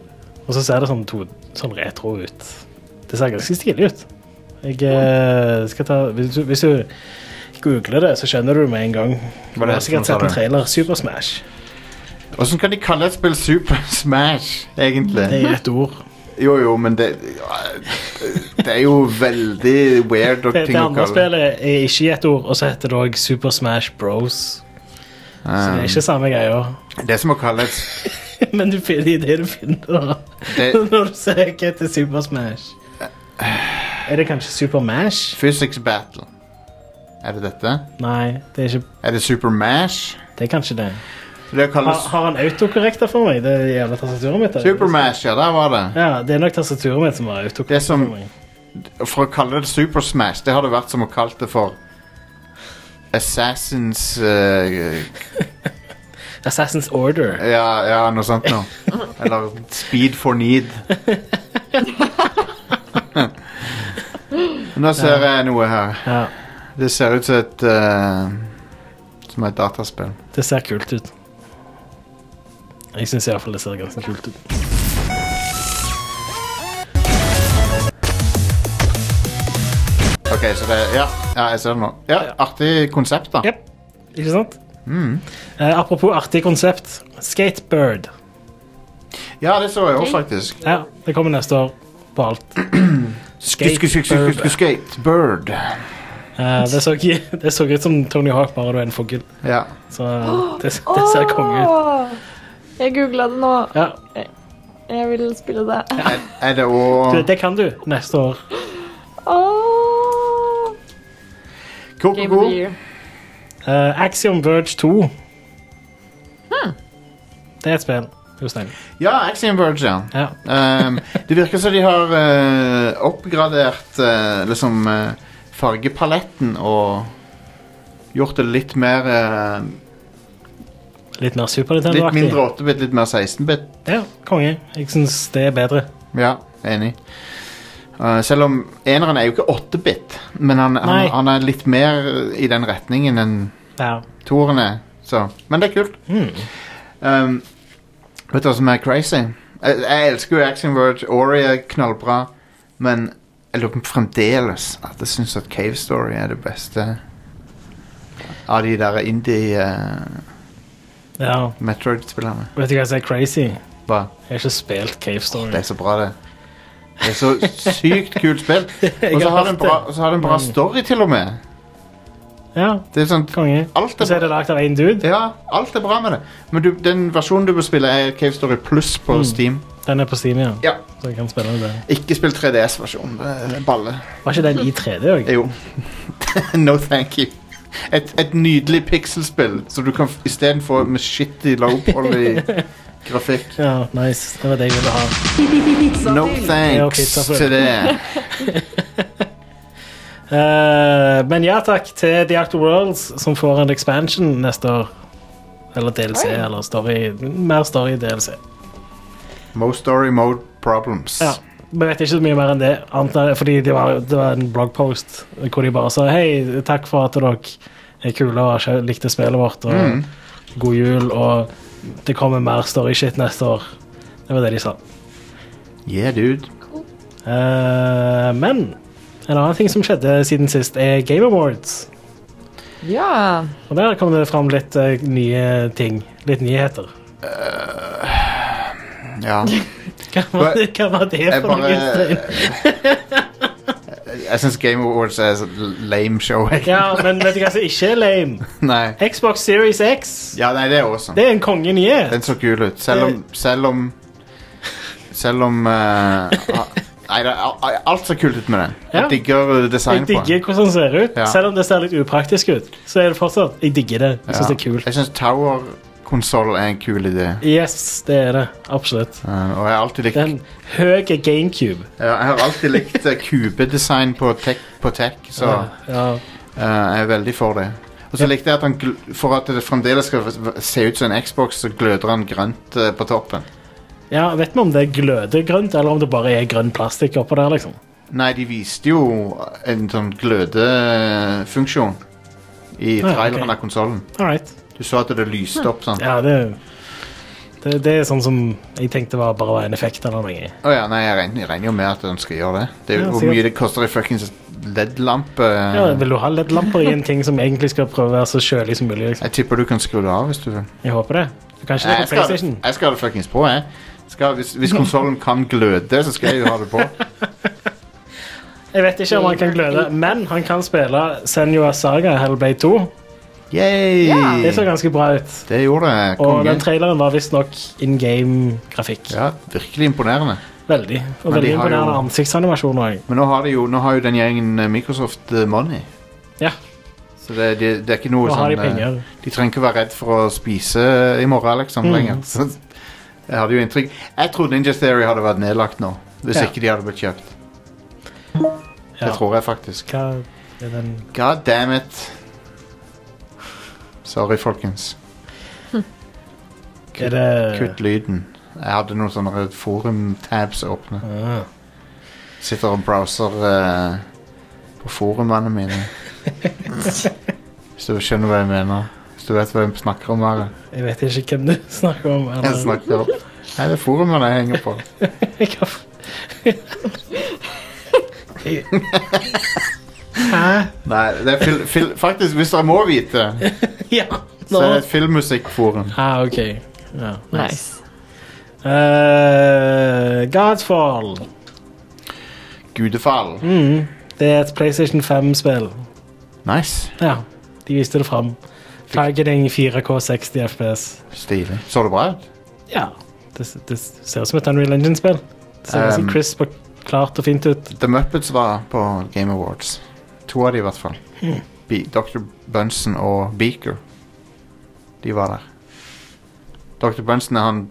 Speaker 2: Og så ser det sånn, to, sånn retro ut. Det ser ganske stilig ut. Jeg eh, skal ta Hvis du, hvis du googler det, så skjønner du det med en gang. Du
Speaker 1: Hva er det
Speaker 2: har sikkert
Speaker 1: som sa
Speaker 2: sett en
Speaker 1: det?
Speaker 2: trailer. Super Smash.
Speaker 1: Åssen kan de kalle et spill Super Smash,
Speaker 2: Det
Speaker 1: egentlig?
Speaker 2: er ett ord.
Speaker 1: Jo, jo, men det Det er jo veldig weird og
Speaker 2: Det,
Speaker 1: ting
Speaker 2: det
Speaker 1: å
Speaker 2: andre
Speaker 1: kalle
Speaker 2: spillet er ikke i ett ord, og så heter det òg Super Smash Bros. Så det er ikke samme greia.
Speaker 1: Det er som å kalle et
Speaker 2: Men du finner i det du finner da.
Speaker 1: Det-
Speaker 2: når du søker etter Super Smash. Er det kanskje Super Mash?
Speaker 1: Physics Battle. Er det dette?
Speaker 2: Nei, det er, ikke,
Speaker 1: Er det Super Mash?
Speaker 2: det er kanskje det.
Speaker 1: Det
Speaker 2: Har,
Speaker 1: kalles
Speaker 2: har han autokorrekta for meg? Det er jævla tastaturet mitt. da.
Speaker 1: Super Mash, ja, der var det.
Speaker 2: Ja, det er nok tastaturet mitt som har
Speaker 1: Det
Speaker 2: autokorrekta
Speaker 1: som-
Speaker 2: for meg.
Speaker 1: For å kalle det Super Smash, det har det vært som å kalle det for Assassins eh,
Speaker 2: Assassin's Order.
Speaker 1: ja, ja, noe sånt nå. Eller Speed for Need. nå ser jeg noe her.
Speaker 2: Ja,
Speaker 1: Det ser ut som et eh, Som et dataspill.
Speaker 2: det ser kult ut. Jeg syns iallfall det ser ganske kult ut.
Speaker 1: OK, så det Ja, ja jeg ser det nå. Ja, Artig konsept, da.
Speaker 2: Jep. Ikke sant?
Speaker 1: Mm.
Speaker 2: Eh, apropos artig konsept. Skatebird.
Speaker 1: Ja, det så jeg òg, faktisk.
Speaker 2: Ja, det kommer neste år på alt.
Speaker 1: Skate, skate, skate, skate, skate, skate Bird.
Speaker 2: Eh, det, så, det så ut som Tony Hawk, bare du er en fugl.
Speaker 1: Ja.
Speaker 2: Så eh, det, det ser konge ut.
Speaker 3: Åh, Jeg googla det nå.
Speaker 2: Ja,
Speaker 3: Jeg vil spille det.
Speaker 1: Er, er det
Speaker 2: du,
Speaker 1: òg
Speaker 2: det kan du neste år.
Speaker 3: Åh, Game of
Speaker 1: Koko?
Speaker 3: the year.
Speaker 2: Eh, Axiom Verge 2. Det er et spill. Jostein.
Speaker 1: Ja, Axiom Verge, ja.
Speaker 2: Ja.
Speaker 1: Ehm, det virker som de har eh, oppgradert eh, liksom eh, fargepaletten og gjort det litt mer eh,
Speaker 2: Litt mer Super Nintendo-aktig.
Speaker 1: Litt mindre 8-bit, litt mer 16-bit.
Speaker 2: Ja, konge. Jeg syns det er bedre.
Speaker 1: Ja, enig. Eh, selv om eneren er jo ikke 8-bit, men han, han,
Speaker 2: Nei.
Speaker 1: han er litt mer i den retningen enn
Speaker 2: Ja.
Speaker 1: toeren er. Så. Men det er kult.
Speaker 2: Hmm.
Speaker 1: Ehm, vet du hva som er crazy? Jeg, jeg elsker jo Action Verge. Ori er knallbra. Men jeg lurer på fremdeles at jeg syns at Cave Story er det beste av de der øh, indie-Metroid-spillerne.
Speaker 2: ja. Vet du hva som er crazy?
Speaker 1: Hva?
Speaker 2: Jeg har ikke spilt Cave Story.
Speaker 1: Det er så bra, det. Det er så sykt kult spill. Og så
Speaker 2: har
Speaker 1: har det en
Speaker 2: hørt
Speaker 1: bra,
Speaker 2: det. Mm.
Speaker 1: så har det en bra story, til og med.
Speaker 2: Ja,
Speaker 1: Det er sånn
Speaker 2: konge.
Speaker 1: Alt
Speaker 2: Og så
Speaker 1: er,
Speaker 2: er det lagd av én dude.
Speaker 1: ja, alt er bra med det. Men du, den versjonen du bør spille, er Cave Story pluss på
Speaker 2: Mm.
Speaker 1: Steam.
Speaker 2: Den er på Steam, ja.
Speaker 1: Ja.
Speaker 2: Så jeg kan spille den.
Speaker 1: Ikke spill 3DS-versjonen. Det er balle.
Speaker 2: Var ikke den i 3D òg?
Speaker 1: Jo. no thank you. Et, et nydelig pixelspill, så du kan f- istedenfor med shitty low-poly grafikk
Speaker 2: Ja, nice. Det var det jeg ville ha.
Speaker 1: No
Speaker 2: Ja,
Speaker 1: thanks
Speaker 2: pizza før.
Speaker 1: til det.
Speaker 2: Eh, men ja takk til The Actor Worlds, som får en expansion neste år. Eller DLC, eller story. Mer story DLC.
Speaker 1: Mo story mode problems.
Speaker 2: Ja. Vi vet ikke så mye mer enn det, annet enn fordi det var, det var en bloggpost hvor de bare sa hei, takk for at dere er kule og har skjø- likte spillet vårt, og
Speaker 1: Mm.
Speaker 2: god jul, og det kommer mer story-shit neste år. Det var det de sa.
Speaker 1: Yeah, dude.
Speaker 2: Eh, men en annen ting som skjedde siden sist, er Game Awards.
Speaker 3: Ja.
Speaker 2: Og der kom det fram litt eh, nye ting. Litt nyheter.
Speaker 1: Ja.
Speaker 2: Hva var det, hva var det
Speaker 1: Jeg
Speaker 2: for
Speaker 1: bare
Speaker 2: noe? Stein?
Speaker 1: Jeg syns Game Awards er så lame show. jeg.
Speaker 2: Ja, men vet du hva som ikke er lame?
Speaker 1: Nei.
Speaker 2: Xbox Series X.
Speaker 1: Ja, nei, det er awesome.
Speaker 2: Det er en kongenyhet.
Speaker 1: Den så kul ut. Selv om Selv om Selv om eh, ah, Nei, det er alt så kult ut med den. Jeg
Speaker 2: Ja.
Speaker 1: digger eh, design
Speaker 2: Jeg
Speaker 1: på den.
Speaker 2: digger hvordan den ser ut.
Speaker 1: Ja.
Speaker 2: Selv om det ser litt upraktisk ut, så er det fortsatt Jeg digger det. Jeg syns det er kult.
Speaker 1: Jeg syns tower-konsoll er en kul idé.
Speaker 2: Yes, det er det. Absolutt.
Speaker 1: Eh, og jeg har alltid likt,
Speaker 2: Den høye GameCube.
Speaker 1: ja, jeg har alltid likt eh, kubedesign på tech, på tech så
Speaker 2: Ja.
Speaker 1: eh, jeg er veldig for det. Og så likte jeg at han gl- for at det fremdeles skal v- se ut som en Xbox, så gløder han grønt eh, på toppen.
Speaker 2: ja, Vet vi om det gløder grønt, eller om det bare er grønn plastikk oppå der? liksom
Speaker 1: Nei, de viste jo en sånn glødefunksjon i
Speaker 2: Ah, ja,
Speaker 1: traileren
Speaker 2: ok.
Speaker 1: av konsollen.
Speaker 2: Alright.
Speaker 1: Du så at det lyste opp sånn. Å ja.
Speaker 2: Ja, det, det, det er sånn som jeg tenkte var bare var en effekt eller noe.
Speaker 1: nei, jeg regner, jeg regner jo med at den skal gjøre det. Det er
Speaker 2: Ja,
Speaker 1: jo hvor
Speaker 2: sikkert.
Speaker 1: mye det koster i fuckings LED-lampe.
Speaker 2: Ja, vil du ha litt lamper i en ting som egentlig skal prøve å være så kjølig som mulig? liksom?
Speaker 1: Jeg tipper du kan skru det av hvis du vil.
Speaker 2: Jeg håper det. Du kan ikke
Speaker 1: Nei,
Speaker 2: det
Speaker 1: jeg
Speaker 2: på
Speaker 1: skal, ha
Speaker 2: PlayStation.
Speaker 1: det- jeg skal ha det fuckings på, jeg. Skal, hvis hvis konsollen kan gløde, så skal jeg jo ha det på.
Speaker 2: Jeg vet ikke om han kan gløde, men han kan spille Senua Saga Hellblade 2.
Speaker 1: Yay!
Speaker 2: Det så ganske bra ut.
Speaker 1: Det gjorde jeg,
Speaker 2: Og den
Speaker 1: konge.
Speaker 2: traileren var visstnok in game-grafikk.
Speaker 1: Ja, virkelig imponerende.
Speaker 2: Veldig. Og
Speaker 1: Men de
Speaker 2: veldig
Speaker 1: har jo-
Speaker 2: imponerende ansiktsanimasjon òg.
Speaker 1: Men nå har, de jo, nå har jo den gjengen eh, Microsoft eh, money.
Speaker 2: Ja.
Speaker 1: Så det, det, det er ikke noe
Speaker 2: Nå har de
Speaker 1: sånn eh,
Speaker 2: penger. Mm.
Speaker 1: De trenger ikke være redd for å spise i morgen liksom lenger. Så jeg hadde jo inntrykk Jeg trodde Ninja Theory hadde vært nedlagt nå. Hvis
Speaker 2: Ja.
Speaker 1: ikke de hadde blitt kjøpt.
Speaker 2: Ja.
Speaker 1: Det tror jeg faktisk.
Speaker 2: Hva er den
Speaker 1: God damn it. Sorry, folkens.
Speaker 2: Er det
Speaker 1: Kutt lyden. Jeg hadde noen sånne forum-tabs åpne.
Speaker 2: Ah.
Speaker 1: Sitter og browser eh, på forumene mine. Hvis du skjønner hva jeg mener. Hvis du vet hva jeg snakker om. Her.
Speaker 2: Jeg vet ikke hvem du snakker om. eller-
Speaker 1: Jeg snakker om. Nei, det er forumene jeg henger på.
Speaker 2: Hva f- Hæ?
Speaker 1: Nei, det er fil, fil, faktisk, hvis dere må vite,
Speaker 2: Ja.
Speaker 1: så er det
Speaker 2: Nå.
Speaker 1: et filmmusikkforum.
Speaker 2: Ah, OK. Ja, nice.
Speaker 3: Nice.
Speaker 2: Eh, Godfall.
Speaker 1: Gudefall.
Speaker 2: Mm. Det er et PlayStation 5-spill.
Speaker 1: Nice.
Speaker 2: Ja, de viste det fram. Targeting 4K 60 FPS.
Speaker 1: Stilig. Så det bra ut?
Speaker 2: Ja, det, det ser ut som et Unreal Engine-spill. Det ser ganske
Speaker 1: Um,
Speaker 2: crisp og klart og fint ut.
Speaker 1: The Muppets var på Game Awards. To av de i hvert fall. Be Dr. Bunsen og Beaker. De var der. Dr. Bunsen er han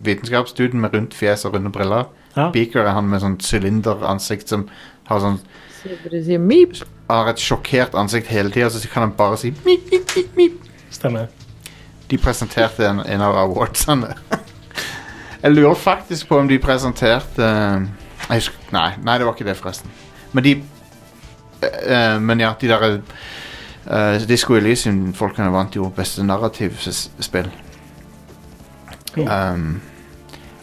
Speaker 1: vitenskapsstudien med rundt fjes og runde briller.
Speaker 2: Ja.
Speaker 1: Beaker er han med sånn sylinderansikt som har, sånn,
Speaker 3: Så dere sier meep.
Speaker 1: har et sjokkert ansikt hele tida, så kan han bare si mip.
Speaker 2: Stemmer.
Speaker 1: De presenterte en, en av awardsene. Jeg lurer faktisk på om de presenterte eh, jeg husker, nei, nei, det var ikke det, forresten. Men de eh, eh, Men ja, de der eh, uh, Disko Elysium-folkene vant jo beste narrativspill.
Speaker 2: Mm.
Speaker 1: Um,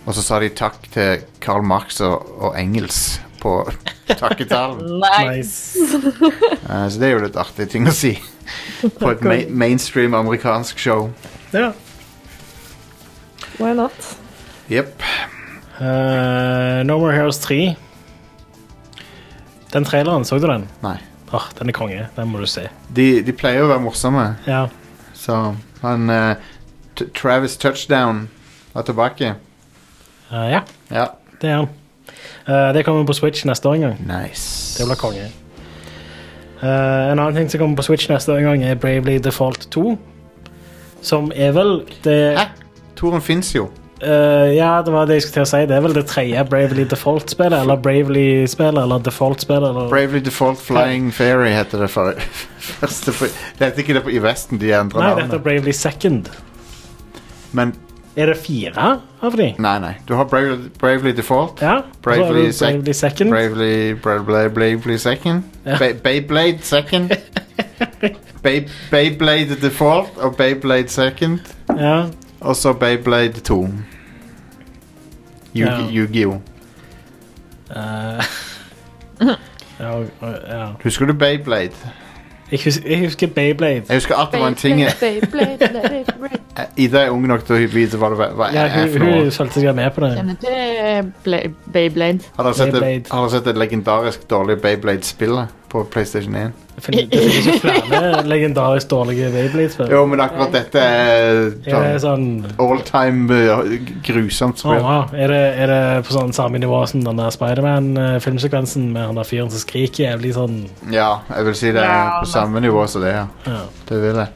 Speaker 1: og så sa de takk til Karl Marx og, og Engels på takketalen.
Speaker 3: Nice.
Speaker 2: Nice.
Speaker 1: Eh, så det er jo litt artig ting å si på et ma mainstream amerikansk show.
Speaker 2: Ja.
Speaker 3: Why not?
Speaker 1: Jepp.
Speaker 2: Eh, no More Heroes 3 Den traileren, så du den?
Speaker 1: Nei.
Speaker 2: Åh, Den er konge. Den må du se.
Speaker 1: De, de pleier å være morsomme,
Speaker 2: Ja.
Speaker 1: så han eh, T- Travis Touchdown er tilbake.
Speaker 2: Eh, ja,
Speaker 1: Ja.
Speaker 2: det er han. Eh, det kommer på Switch neste år en gang.
Speaker 1: Nice.
Speaker 2: Det blir konge. Eh, en annen ting som kommer på Switch neste gang, er Bravely Default 2. Som er vel det
Speaker 1: Hæ? Toren fins jo.
Speaker 2: Eh, Ja, det var det jeg skulle til å si. Det er vel det tredje Bravely Default-spillet, eller Bravely-spillet, eller Default-spillet, eller
Speaker 1: Bravely Default Flying Fairy heter det for, første for Det heter ikke det på, i Vesten, de endrer
Speaker 2: Nei, dette er
Speaker 1: navnet.
Speaker 2: Bravely Second.
Speaker 1: Men
Speaker 2: Er det fire av de?
Speaker 1: nei, nei. Du har Bravely, Bravely Default,
Speaker 2: Ja. og så har du
Speaker 1: Mm. Bravely Sec-
Speaker 2: Bravely Second.
Speaker 1: Bravely, Bravely, Bravely Second,
Speaker 2: Ja.
Speaker 1: Bay- Beyblade Second, Bay- Beyblade Default og Beyblade Second,
Speaker 2: Ja.
Speaker 1: og så Beyblade 2. Yu-
Speaker 2: Ja.
Speaker 1: Yu-Gi-Oh.
Speaker 2: Eh, ja, og- og- ja.
Speaker 1: Husker du Beyblade?
Speaker 2: Jeg husker, jeg husker Beyblade.
Speaker 1: Jeg husker at det var en ting eh. jeg- Eh, Ida er ung nok til å vite hva det var. Hva
Speaker 2: Ja,
Speaker 1: er
Speaker 2: hun
Speaker 1: for
Speaker 2: hun
Speaker 1: noe.
Speaker 2: solgte seg med på det.
Speaker 3: Beyblade. Beyblade.
Speaker 1: Har dere sett det-
Speaker 2: Beyblade.
Speaker 1: har dere sett det legendarisk dårlige Beyblade-spillet på PlayStation 1?
Speaker 2: Det finnes- Det finnes jo flere legendarisk dårlige Beyblade-spill.
Speaker 1: Jo, men akkurat dette er
Speaker 2: Er det
Speaker 1: sånn
Speaker 2: sånn
Speaker 1: all time uh, grusomt
Speaker 2: Å,
Speaker 1: spill.
Speaker 2: wow. er, det, er det på sånn samme nivå som den der Spiderman-filmsekvensen med han der fyren som skriker jævlig sånn
Speaker 1: Ja, jeg vil si det er
Speaker 3: Ja,
Speaker 1: på samme nivå som det, ja.
Speaker 2: ja.
Speaker 1: Det vil jeg.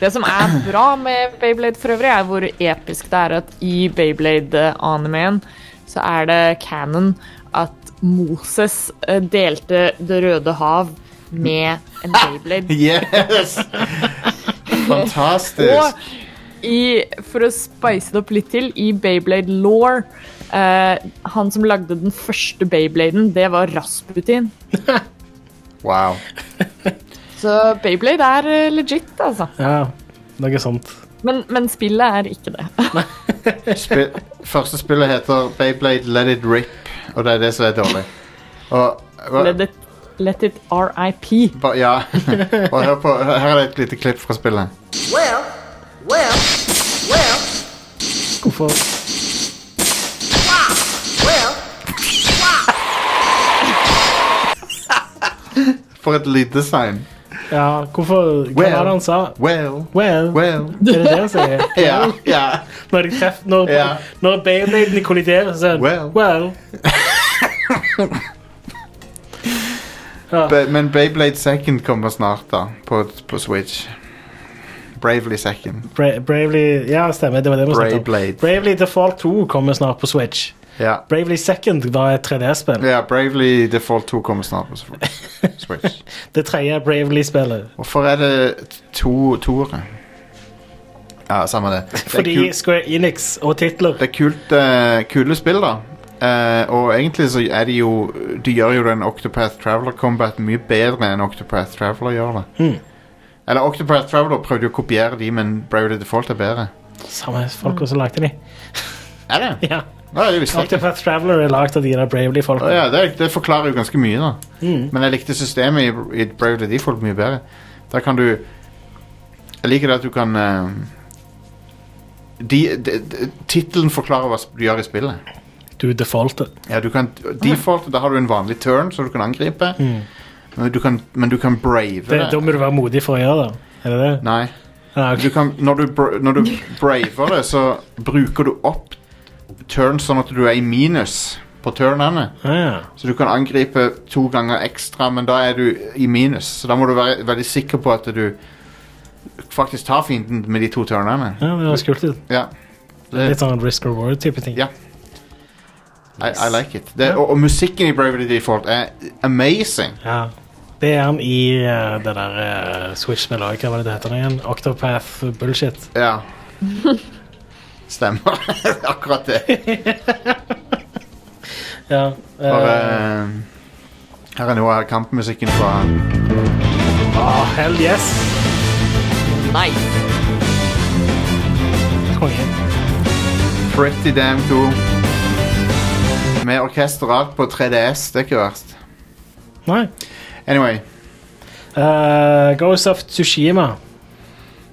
Speaker 3: Det som er bra med Beyblade for øvrig, er hvor episk det er at i Beyblade-animeen så er det canon at Moses eh, delte Det røde hav med en Beyblade.
Speaker 1: Yes! Fantastisk.
Speaker 3: Og i, for å spice det opp litt til, i Beyblade Law eh, Han som lagde den første Beybladen, det var Rasputin.
Speaker 1: Wow.
Speaker 3: Så Beyblade er eh, legit, altså.
Speaker 2: ja, noe sånt.
Speaker 3: Men, men spillet er ikke det.
Speaker 1: Spill, første spillet heter Beyblade Let It Rip, og det er det som er dårlig. Og, og
Speaker 3: Let it, let it RIP.
Speaker 1: ba, Ja. Og hør på, her er det et lite klipp fra spillet.
Speaker 6: Well, well, well,
Speaker 2: Hvorfor
Speaker 6: well.
Speaker 1: For et lyddesign.
Speaker 2: Ja, hvorfor Hva
Speaker 1: Well.
Speaker 2: var det han sa?
Speaker 1: Well,
Speaker 2: Well,
Speaker 1: well.
Speaker 2: Er det det han sier?
Speaker 1: Ja, ja.
Speaker 2: Når, de treff, når,
Speaker 1: Ja.
Speaker 2: når Beybladene kolliderer, så sier han
Speaker 1: Well.
Speaker 2: well. well.
Speaker 1: Be, men Beyblade Second kommer snart, da. På, på Switch. Bravely Second.
Speaker 2: Bra Bravely Ja, stemmer. det var det vi snakket om.
Speaker 1: Beyblade.
Speaker 2: Bravely Default 2 kommer snart på Switch.
Speaker 1: Ja.
Speaker 2: Bravely Second var et 3D-spill.
Speaker 1: Ja, Bravely Default 2 kommer snart på Switch.
Speaker 2: Det tredje Bravely-spillet.
Speaker 1: Hvorfor er det to toere? Ja, samme det. Det er,
Speaker 2: Fordi
Speaker 1: kult,
Speaker 2: Square Enix og titler
Speaker 1: det er kult, eh, kule spill, da. Eh, og egentlig så er de jo De gjør jo den Octopath Traveler Combat mye bedre enn Octopath Traveler gjør det.
Speaker 2: Mm.
Speaker 1: Eller Octopath Traveler prøvde jo å kopiere de, men Bravely Default er bedre.
Speaker 2: Samme folka som lagde de.
Speaker 1: Er det?
Speaker 2: Ja.
Speaker 1: Ja, det visste jeg ikke.
Speaker 2: Octopath Traveler er lagd av de der Bravely-folka.
Speaker 1: Å ja, det, det forklarer jo ganske mye, da.
Speaker 2: Mm.
Speaker 1: Men jeg likte systemet i, i Bravely Default mye bedre. Der kan du Jeg liker det at du kan eh, de, de, de, Tittelen forklarer hva du gjør i spillet.
Speaker 2: Du defaulter.
Speaker 1: Ja, du kan default, Da har du en vanlig turn som du kan angripe, men, du kan, men du kan brave
Speaker 2: Mm. Det, da
Speaker 1: det.
Speaker 2: må du være modig for å gjøre det. Er det det?
Speaker 1: Nei.
Speaker 2: Ja,
Speaker 1: Du
Speaker 2: ok.
Speaker 1: kan, når, du, bra- når du braver det, så bruker du opp turn sånn at du er i minus på turnene.
Speaker 2: Ah, ja.
Speaker 1: Så du kan angripe to ganger ekstra, men da er du i minus. Så da må du være veldig sikker på at du faktisk tar fienden med de to turnene.
Speaker 2: ja, det høres kult ut.
Speaker 1: Ja.
Speaker 2: Litt
Speaker 1: Det,
Speaker 2: sånn risk reward-type ting.
Speaker 1: Ja. I, I like it. Det, og, og musikken i Bravely Default er amazing.
Speaker 2: Ja. Det er han i eh, det der eh, Switch med lag, hva var det det heter nå igjen? Octopath Bullshit.
Speaker 1: Ja. Stemmer. Akkurat det.
Speaker 2: Ja. eh,
Speaker 1: Bare, eh, her er noe av kampmusikken fra
Speaker 2: ah, hell yes!
Speaker 3: Nei.
Speaker 2: Konge.
Speaker 1: Pretty Damn Cool. Med orkester og alt på 3DS. Det er ikke verst.
Speaker 2: Nei.
Speaker 1: Anyway.
Speaker 2: Eh, Ghost of Tsushima.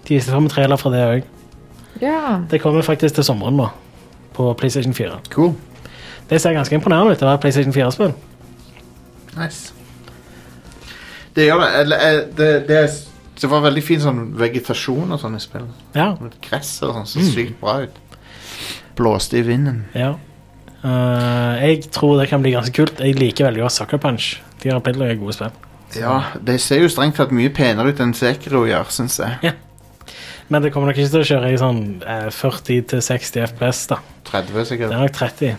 Speaker 2: De kom med trailer fra det òg.
Speaker 3: Ja.
Speaker 2: Det kommer faktisk til sommeren nå. På PlayStation 4.
Speaker 1: Cool.
Speaker 2: Det ser ganske imponerende ut. Det var et PlayStation 4-spill.
Speaker 1: Nice. Det gjør det. Eller, eh, Det, det, er s- det var veldig fin sånn vegetasjon og sånn i spillet.
Speaker 2: Ja.
Speaker 1: Gresset og sånn så sykt bra ut. Blåste i vinden.
Speaker 2: ja. Eh, jeg tror det kan bli ganske kult. Jeg liker veldig godt Sucker Punch. De har Pidler er gode spill.
Speaker 1: Ja, det ser jo strengt tatt mye penere ut enn Sekiro gjør, syns jeg.
Speaker 2: Men det kommer nok ikke til å kjøre i sånn eh, 40-60 FPS. da
Speaker 1: 30
Speaker 2: Det
Speaker 1: sikkert.
Speaker 2: er nok 30.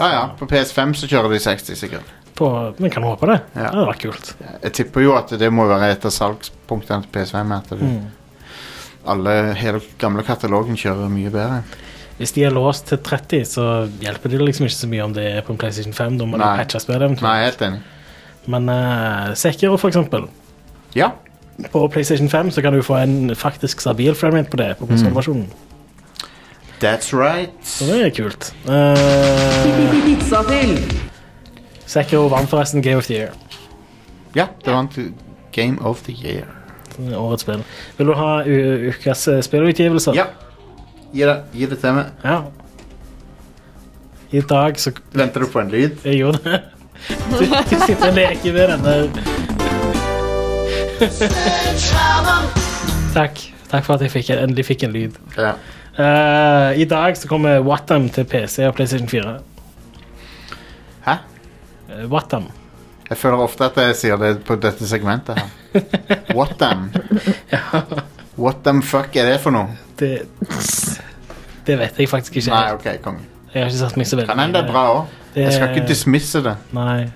Speaker 1: Ja ja, på PS5 så kjører de 60 sikkert.
Speaker 2: På, men kan håpe det.
Speaker 1: Ja.
Speaker 2: Det hadde vært kult.
Speaker 1: Jeg tipper jo at det må være et av salgspunktene til PS5. At det,
Speaker 2: Mm.
Speaker 1: alle hele gamle katalogen kjører mye bedre.
Speaker 2: Hvis de er låst til 30, så hjelper det liksom ikke så mye om det er på en PlayStation 5. Da må de
Speaker 1: Nei.
Speaker 2: patche spillet eventuelt.
Speaker 1: Nei, jeg er helt enig.
Speaker 2: Men uh, Sekiro, for eksempel.
Speaker 1: Ja.
Speaker 2: På PlayStation 5 så kan du få en faktisk stabil framerate på det. på konsolversjonen.
Speaker 1: That's right.
Speaker 2: Så det er kult. Eh, Uh, Sekiro vant forresten Game of the Year.
Speaker 1: Ja, det vant Game of the Year.
Speaker 2: Det er Årets spill. Vil du ha u- ukas eh, spillutgivelser?
Speaker 1: Ja. Gi det, gi det til meg.
Speaker 2: Ja. I dag så
Speaker 1: Venter du på en lyd?
Speaker 2: Jeg gjorde det. Du, du sitter og leker med den der. Takk. Takk for at jeg fikk, endelig fikk en lyd.
Speaker 1: Ja.
Speaker 2: Eh, I dag så kommer Wattam til PC og PlayStation 4.
Speaker 1: Hæ?
Speaker 2: Eh, Wattam.
Speaker 1: Jeg føler ofte at jeg sier det på dette segmentet her. What them? What them fuck er det for noe?
Speaker 2: Det, det vet jeg faktisk ikke.
Speaker 1: Nei, ok, konge.
Speaker 2: Jeg har ikke satt meg så veldig
Speaker 1: Kan hende det er bra òg.
Speaker 2: Det-
Speaker 1: Jeg skal ikke dismisse det,
Speaker 2: Nei.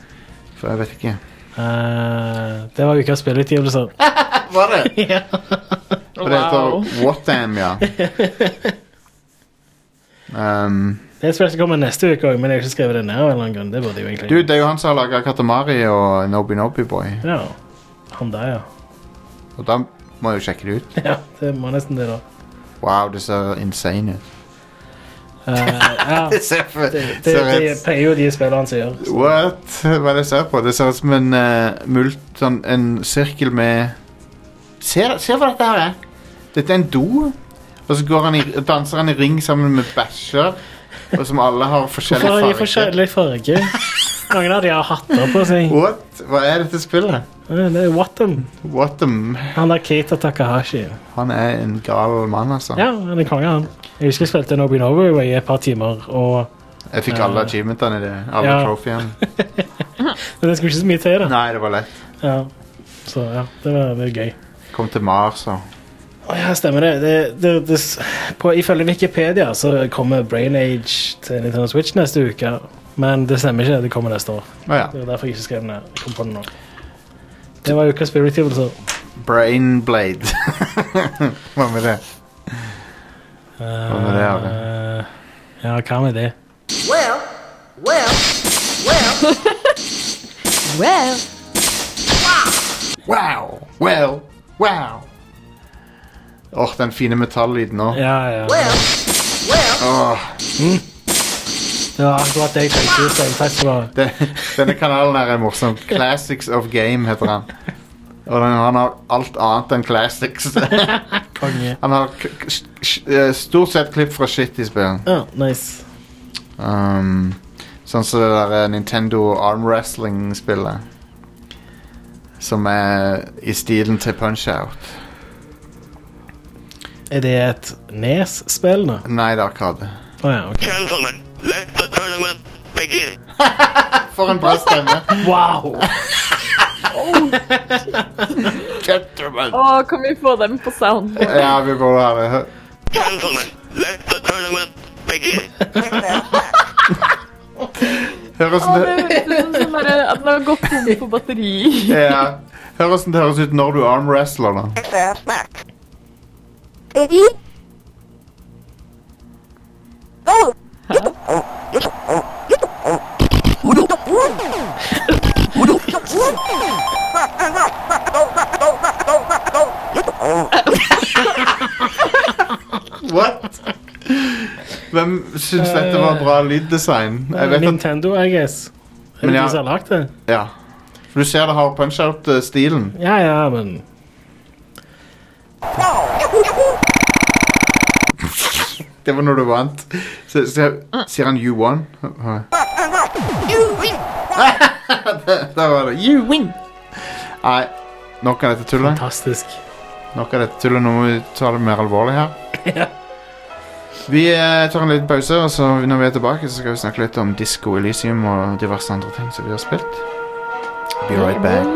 Speaker 1: for jeg vet ikke.
Speaker 2: Eh, det var ukas spillutgivelser.
Speaker 1: Var det?
Speaker 2: Ja.
Speaker 1: For det heter What them, ja. Um,
Speaker 2: Det er et spill som kommer neste uke òg, men jeg har ikke skrevet det ned. av en eller annen grunn. Det burde jeg jo egentlig
Speaker 1: du, det er jo han som har laga Katamari og Nobi Nobi Boy,
Speaker 2: Ja. Han der, ja.
Speaker 1: og da må jeg jo sjekke det ut.
Speaker 2: ja. Det må nesten det, da.
Speaker 1: Wow, det ser insane ut.
Speaker 2: Eh, ja.
Speaker 1: Det ser, for,
Speaker 2: Det,
Speaker 1: ser
Speaker 2: det
Speaker 1: helt-
Speaker 2: pleier jo de spillerne som gjør.
Speaker 1: What? Hva er det jeg ser på? Det ser ut som en, eh, mult, sånn, en sirkel med se, se hva dette her er. Dette er en do. Og så går han i, danser han i ring sammen med bæsjer. Og som alle har
Speaker 2: Hvorfor har de
Speaker 1: forskjellig farge.
Speaker 2: forskjellig farge? Noen av de har hatter på seg.
Speaker 1: What? Hva er dette spillet?
Speaker 2: Eh, Det er Wattam.
Speaker 1: What the m...
Speaker 2: Han der Keita Takahashi.
Speaker 1: Han er en gal mann, altså.
Speaker 2: Ja, han er konge, han. Jeg husker jeg spilte Nobinobu i et par timer, og
Speaker 1: Jeg fikk alle achievementene i det. Alle
Speaker 2: Ja.
Speaker 1: trofeene.
Speaker 2: Men det skulle ikke så mye til, det.
Speaker 1: Nei, det var lett.
Speaker 2: Ja. Så ja, det var, det var gøy.
Speaker 1: Kom til Mars og
Speaker 2: Å ja, stemmer det. det, det, det s- på, ifølge Wikipedia så kommer Brain Age til Nintendo Switch neste uke. Men det stemmer ikke. Det kommer neste år.
Speaker 1: Å ja.
Speaker 2: Det var derfor jeg ikke skrev den ned. Jeg kom på den nå. Det var ukas spiritivelser.
Speaker 1: Brain Blade. Hva med det? Hva med det, Are?
Speaker 2: Eh. Ja, hva med det?
Speaker 6: Well, well, well,
Speaker 5: Well,
Speaker 1: Wow! Well! Wow! Åh, den fine metallyden nå.
Speaker 2: Ja, ja.
Speaker 6: well, well,
Speaker 1: Åh,
Speaker 2: Det var akkurat det jeg tenkte. Stein. Takk skal du ha.
Speaker 1: den, denne kanalen her er morsom. Classics of Game heter han. Og den, han har alt annet enn classics. han
Speaker 2: Konge.
Speaker 1: har k k s- s- eh, stort sett klipp fra shit i spill.
Speaker 2: Ja, nice.
Speaker 1: Um, sånn som det der eh, Nintendo arm wrestling-spillet. Som er i stilen til Punch-Out.
Speaker 2: Er det et Nes-spill nå?
Speaker 1: Nei, det er Arkade.
Speaker 2: Å ja, ok.
Speaker 7: Gentlemen, let the tournament begin.
Speaker 1: For en bra stemme!
Speaker 2: Wow!
Speaker 3: Å, kan vi få dem på sound?
Speaker 1: Ja, vi må ha det.
Speaker 7: Gentlemen, let the tournament begin.
Speaker 1: Høres
Speaker 3: Å,
Speaker 1: det
Speaker 3: det høres ut som sånn derre at den har gått tom for batteri.
Speaker 1: Ja. Hør hvordan det høres ut når du arm wrestler, da. What? Hvem syns dette var bra lyddesign? Jeg vet at
Speaker 2: Nintendo, I guess. Er
Speaker 1: Men
Speaker 2: det
Speaker 1: ja.
Speaker 2: de som har lagd det?
Speaker 1: Ja. For du ser det har punch-out-stilen.
Speaker 2: Ja, ja, men
Speaker 1: Det var når du vant. Så, så sier han 'you won'?
Speaker 6: you win.
Speaker 1: Det Der var det. You win! Nei, nok av dette tullet.
Speaker 2: Fantastisk.
Speaker 1: Nok av dette tullet. Nå må vi ta det mer alvorlig her.
Speaker 2: Ja.
Speaker 1: Vi eh, tar en liten pause, og så når vi er tilbake, så skal vi snakke litt om Disco Elysium og diverse andre ting som vi har spilt. Be right back.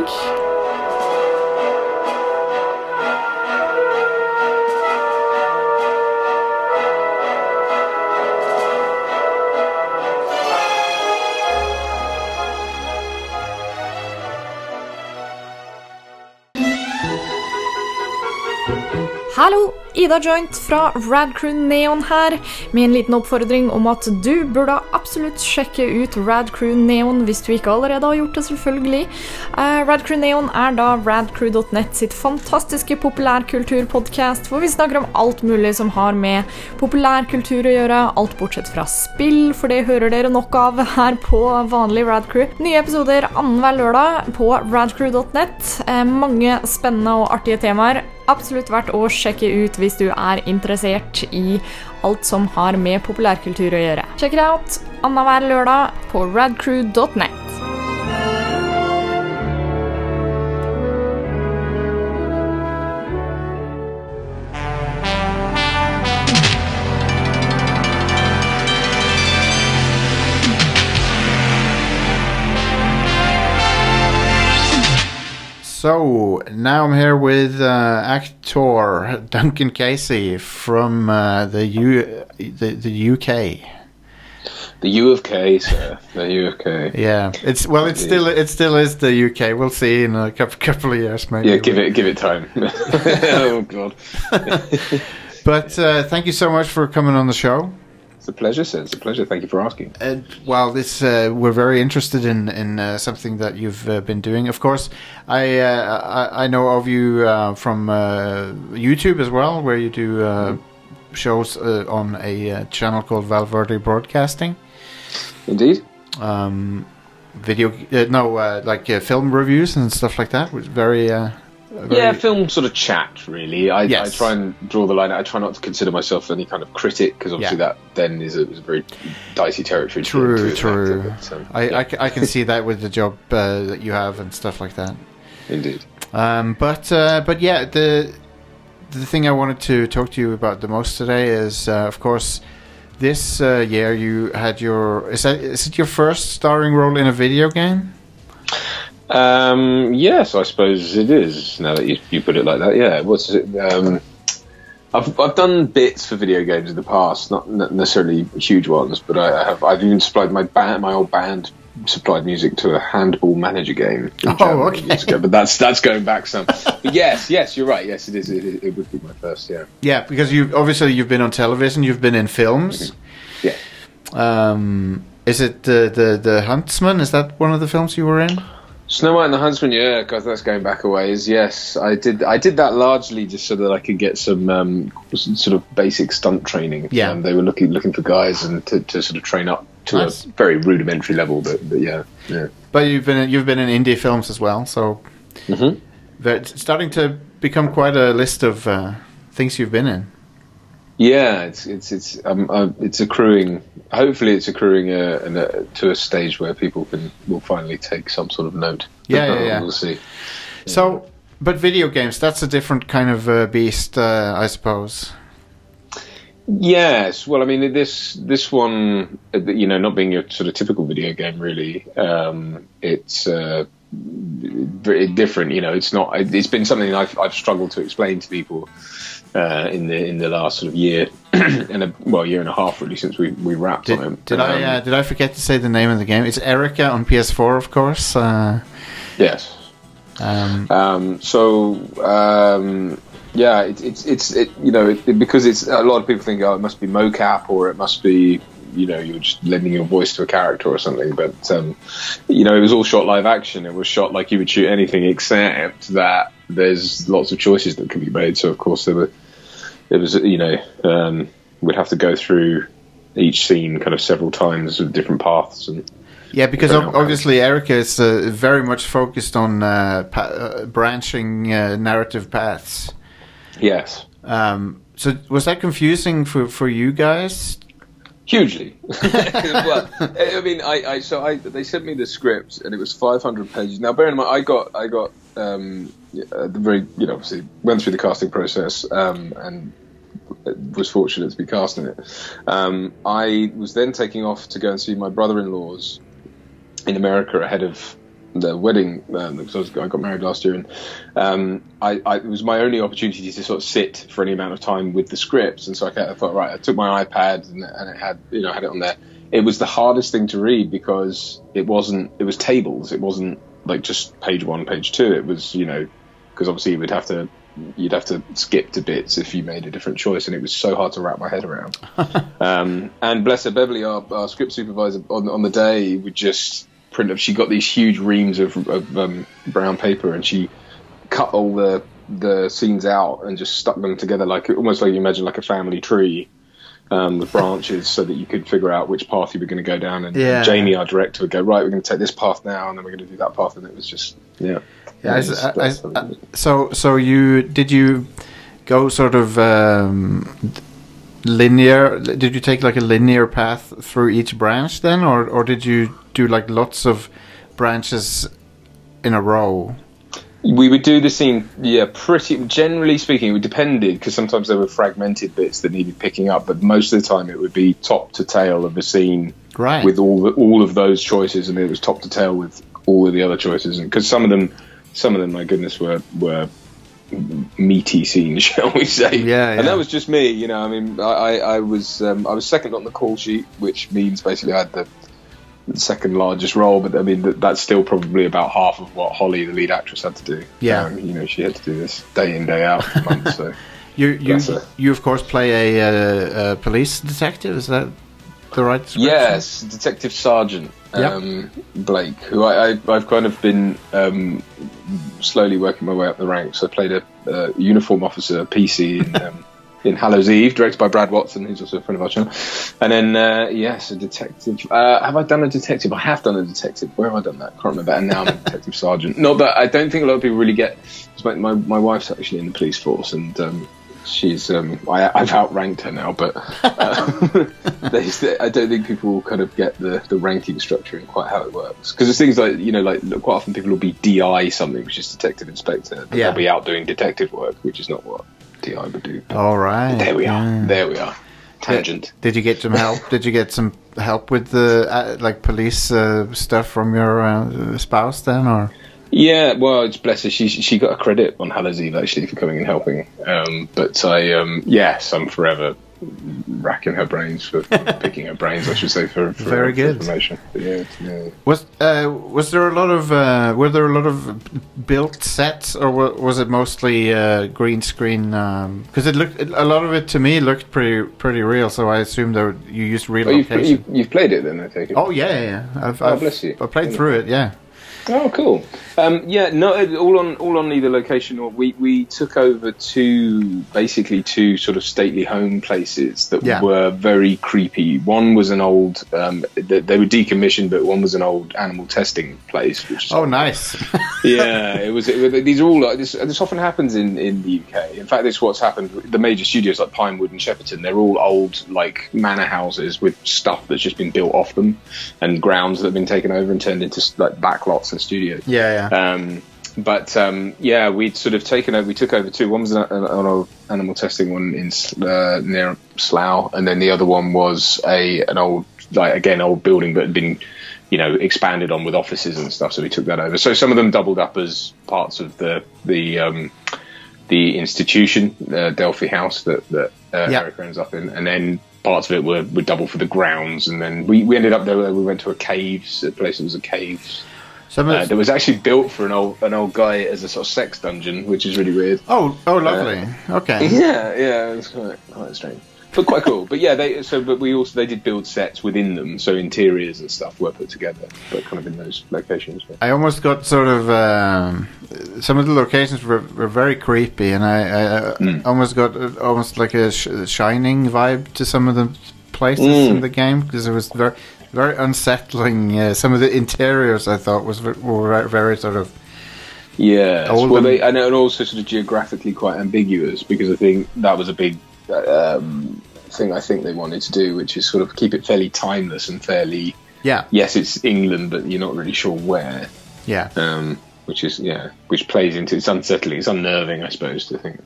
Speaker 3: Hallo! Ida Joint fra Radcrew Neon her, med en liten oppfordring om at du burde absolutt sjekke ut Radcrew Neon hvis du ikke allerede har gjort det, selvfølgelig. Eh, Radcrew Neon er da radcrew.net sitt fantastiske populærkulturpodkast, hvor vi snakker om alt mulig som har med populærkultur å gjøre, alt bortsett fra spill, for det hører dere nok av her på vanlig Radcrew. Nye episoder annenhver lørdag på radcrew.net. Eh, mange spennende og artige temaer absolutt verdt å sjekke ut hvis du er interessert i alt som har med populærkultur å gjøre. Sjekk det out annenhver lørdag på radcrew.net.
Speaker 1: So now I'm here with uh, actor Duncan Casey from uh, the U the, the UK.
Speaker 8: The U of K, sir. The U of K.
Speaker 1: Yeah, it's well, it's still it still is the UK. We'll see in a couple, couple of years maybe.
Speaker 8: Yeah, give it, give it time. oh God,
Speaker 1: But uh, thank you so much for coming on the show.
Speaker 8: it's a pleasure, sir. It's a pleasure. Thank you for asking.
Speaker 1: And while this, uh, we're very interested in in uh, something that you've uh, been doing. Of course, I uh, I, I know of you uh, from uh, YouTube as well, where you do uh, shows uh, on a uh, channel called Valverde Broadcasting.
Speaker 8: Indeed.
Speaker 1: um, video, uh, no, uh, like uh, film reviews and stuff like that. Was very, uh, very
Speaker 8: Yeah, film sort of chat, really. I,
Speaker 1: Yes.
Speaker 8: I try and draw the line. I try not to consider myself any kind of critic because obviously
Speaker 1: Yeah.
Speaker 8: that then is a, is a very dicey territory. to- to
Speaker 1: true,
Speaker 8: an
Speaker 1: true.
Speaker 8: actor, but, um,
Speaker 1: I,
Speaker 8: yeah,
Speaker 1: I ca- I can see that with the job uh, that you have and stuff like that.
Speaker 8: indeed.
Speaker 1: Um, but uh, but yeah, the the thing I wanted to talk to you about the most today is, uh, of course, this uh, year you had your is that is it your first starring role in a video game?
Speaker 8: Um, yes, I suppose it is. Now that you, you put it like that, yeah. What's it? Um, I've I've done bits for video games in the past, not, not necessarily huge ones, but I, I have. I've even supplied my band, my old band, supplied music to a handball manager game. in
Speaker 1: Oh,
Speaker 8: Germany
Speaker 1: okay.
Speaker 8: years ago, but that's that's going back some. But yes, yes, you're right. Yes, it is. It, it, it would be my first. Yeah,
Speaker 1: Yeah, because you obviously you've been on television, you've been in films.
Speaker 8: yeah.
Speaker 1: Um, is it the, the the Huntsman? Is that one of the films you were in?
Speaker 8: Snow White and the Huntsman, yeah, because that's going back a ways. Yes, I did. I did that largely just so that I could get some um, s- sort of basic stunt training.
Speaker 1: Yeah.
Speaker 8: um, they were looking looking for guys and to, to sort of train up to
Speaker 1: Nice.
Speaker 8: a very rudimentary level. But, but yeah, yeah,
Speaker 1: But you've been in, you've been in indie films as well, so they're starting to become quite a list of uh, things you've been in.
Speaker 8: yeah. It's it's it's um, uh, it's accruing. Hopefully, it's accruing a, an, a, to a stage where people can will finally take some sort of note.
Speaker 1: Yeah,
Speaker 8: But,
Speaker 1: yeah,
Speaker 8: uh,
Speaker 1: yeah.
Speaker 8: We'll see.
Speaker 1: So, but video games that's a different kind of uh, beast, uh, I suppose.
Speaker 8: Yes, well, I mean this this one, uh, you know, not being your sort of typical video game, really. Um, it's uh, very different, you know. It's not. It's been something I've I've struggled to explain to people uh, in the in the last sort of year and a well year and a half really since we we wrapped
Speaker 1: Did,
Speaker 8: on it.
Speaker 1: did I
Speaker 8: Um,
Speaker 1: uh, did I forget to say the name of the game? It's Erica on PS4, of course. Uh,
Speaker 8: yes.
Speaker 1: um,
Speaker 8: Um, so um, yeah, it, it's it's it, you know it, it- because it's a lot of people think oh it must be mocap or it must be you know you're just lending your voice to a character or something, but um, you know it was all shot live action. It was shot like you would shoot anything, except that there's lots of choices that can be made. So of course there were it was you know um, we'd have to go through each scene kind of several times with different paths and
Speaker 1: Yeah, because
Speaker 8: Very
Speaker 1: ob-
Speaker 8: well.
Speaker 1: obviously Erica is uh, very much focused on uh, pa- uh, branching uh, narrative paths.
Speaker 8: yes.
Speaker 1: Um, so was that confusing for, for you guys?
Speaker 8: Hugely. well, I I mean, I, I so I they sent me the script and it was 500 pages. Now, bear in mind, I got I got um, uh, the very you know obviously went through the casting process um, and was fortunate to be cast in it. Um, I was then taking off to go and see my brother-in-law's in America ahead of the wedding um, because I, was, I got married last year, and um, I, I, it was my only opportunity to sort of sit for any amount of time with the scripts. And so I, kind of thought, right, I took my iPad and, and it had you know had it on there. It was the hardest thing to read because it wasn't it was tables. It wasn't like just page one, page two. It was you know because obviously you would have to you'd have to skip to bits if you made a different choice, and it was so hard to wrap my head around. um, and bless her, Beverly, our, our script supervisor on on the day would just print up. She got these huge reams of, of um, brown paper, and she cut all the the scenes out and just stuck them together like almost like you imagine like a family tree um, with branches, so that you could figure out which path you were going to go down. And
Speaker 1: Yeah.
Speaker 8: Jamie, our director, would go right. We're going to take this path now, and then we're going to do that path. And it was just yeah.
Speaker 1: Yeah, I
Speaker 8: It
Speaker 1: s-
Speaker 8: was-
Speaker 1: I- I-
Speaker 8: that's-
Speaker 1: I- so so you did you go sort of um, linear? Did you take like a linear path through each branch then, or or did you do like lots of branches in a row?
Speaker 8: We would do the scene, yeah, pretty. Generally speaking, it depended because sometimes there were fragmented bits that needed picking up, but most of the time it would be top to tail of a scene
Speaker 1: Right.
Speaker 8: with all the, all of those choices, and it was top to tail with all of the other choices, and because some of them, some of them, my goodness, were were meaty scenes, shall we say?
Speaker 1: Yeah, yeah.
Speaker 8: And that was just me, you know. I mean, I I, I was um, I was second on the call sheet, which means basically I had the second largest role, but I mean that, that's still probably about half of what Holly, the lead actress, had to do.
Speaker 1: Yeah.
Speaker 8: Um, you know, she had to do this day in day out for months. So
Speaker 1: You you
Speaker 8: That's it.
Speaker 1: you of course play a, uh, a police detective. Is that the right? description?
Speaker 8: yes, Detective Sergeant um, Blake, who I, I I've kind of been um, slowly working my way up the ranks. I played a, uh uniform officer, a PC, in, um, in Hallows Eve, directed by Brad Watson, who's also a friend of our channel. And then, uh, yes, a detective. Uh, have I done a detective? I have done a detective. Where have I done that? can't remember. And now I'm a detective sergeant. Not that I don't think a lot of people really get. 'cause My, my, my wife's actually in the police force, and um, she's. Um, I, I've outranked her now, but uh, they, I don't think people kind of get the, the ranking structure and quite how it works. Because there's things like, you know, like quite often people will be DI something, which is detective inspector. but
Speaker 1: Yeah.
Speaker 8: They'll be out doing detective work, which is not what DI would do.
Speaker 1: All right.
Speaker 8: There we are.
Speaker 1: yeah.
Speaker 8: There we are. Tangent.
Speaker 1: Did you get some help? Did you get some help with the uh, like police uh, stuff from your uh, spouse then, or
Speaker 8: Yeah, well, it's bless her. She she got a credit on Hallows Eve actually for coming and helping. Um, but I um, yes, I'm forever racking her brains for picking her brains, I should say, for, for
Speaker 1: Very
Speaker 8: for
Speaker 1: good.
Speaker 8: information. But yeah, yeah.
Speaker 1: was uh, was there a lot of uh, were there a lot of built sets, or wa- was it mostly uh, green screen? Because it looked a lot of it to me looked pretty pretty real, so I assumed that you used real
Speaker 8: Oh, you've,
Speaker 1: location.
Speaker 8: you, you've played it then, I take it.
Speaker 1: Oh yeah, yeah, yeah. I've,
Speaker 8: Oh,
Speaker 1: I've,
Speaker 8: bless you.
Speaker 1: I played through it. Yeah.
Speaker 8: Oh, cool. Um, yeah, no, it- all on all on either location. Or we we took over two basically two sort of stately home places that
Speaker 1: Yeah.
Speaker 8: were very creepy. One was an old um, they, they were decommissioned, but one was an old animal testing place. Which is
Speaker 1: Oh, nice.
Speaker 8: yeah, it was. It, was- these are all like this. This often happens in in the UK. In fact, this is what's happened. with The major studios like Pinewood and Shepperton, they're all old like manor houses with stuff that's just been built off them, and grounds that have been taken over and turned into like back lots and studios.
Speaker 1: yeah, yeah.
Speaker 8: Um, but um, yeah, we'd sort of taken over. We took over two. One was an, an, an animal testing one in S- uh, near Slough, and then the other one was a an old like again old building, but had been you know expanded on with offices and stuff. So we took that over. So some of them doubled up as parts of the the um, the institution, uh, Delphi House that that uh,
Speaker 1: Yeah.
Speaker 8: Eric ends up in, and then parts of it were, were double for the grounds, and then we, we ended up there. We went to a caves, a place that was a caves.
Speaker 1: Some
Speaker 8: Uh,
Speaker 1: of
Speaker 8: that
Speaker 1: the
Speaker 8: was actually built for an old an old guy as a sort of sex dungeon, which is really weird.
Speaker 1: oh, oh,
Speaker 8: uh,
Speaker 1: lovely. okay.
Speaker 8: Yeah, yeah, it's quite quite strange, but quite cool. But yeah, they so but we also they did build sets within them, so interiors and stuff were put together, but kind of in those locations. yeah.
Speaker 1: I almost got sort of um, some of the locations were, were very creepy, and I, I uh, almost got uh, almost like a sh- shining vibe to some of the places in the game because it was very very unsettling. Uh, some of the interiors I thought was ver- were very sort of
Speaker 8: Yeah,
Speaker 1: All
Speaker 8: well,
Speaker 1: them-
Speaker 8: they, and, and also sort of geographically quite ambiguous because I think that was a big um, thing I think they wanted to do, which is sort of keep it fairly timeless and fairly.
Speaker 1: Yeah.
Speaker 8: Yes, it's England, but you're not really sure where.
Speaker 1: Yeah.
Speaker 8: Um, which is yeah, which plays into it's unsettling, it's unnerving, I suppose, to think.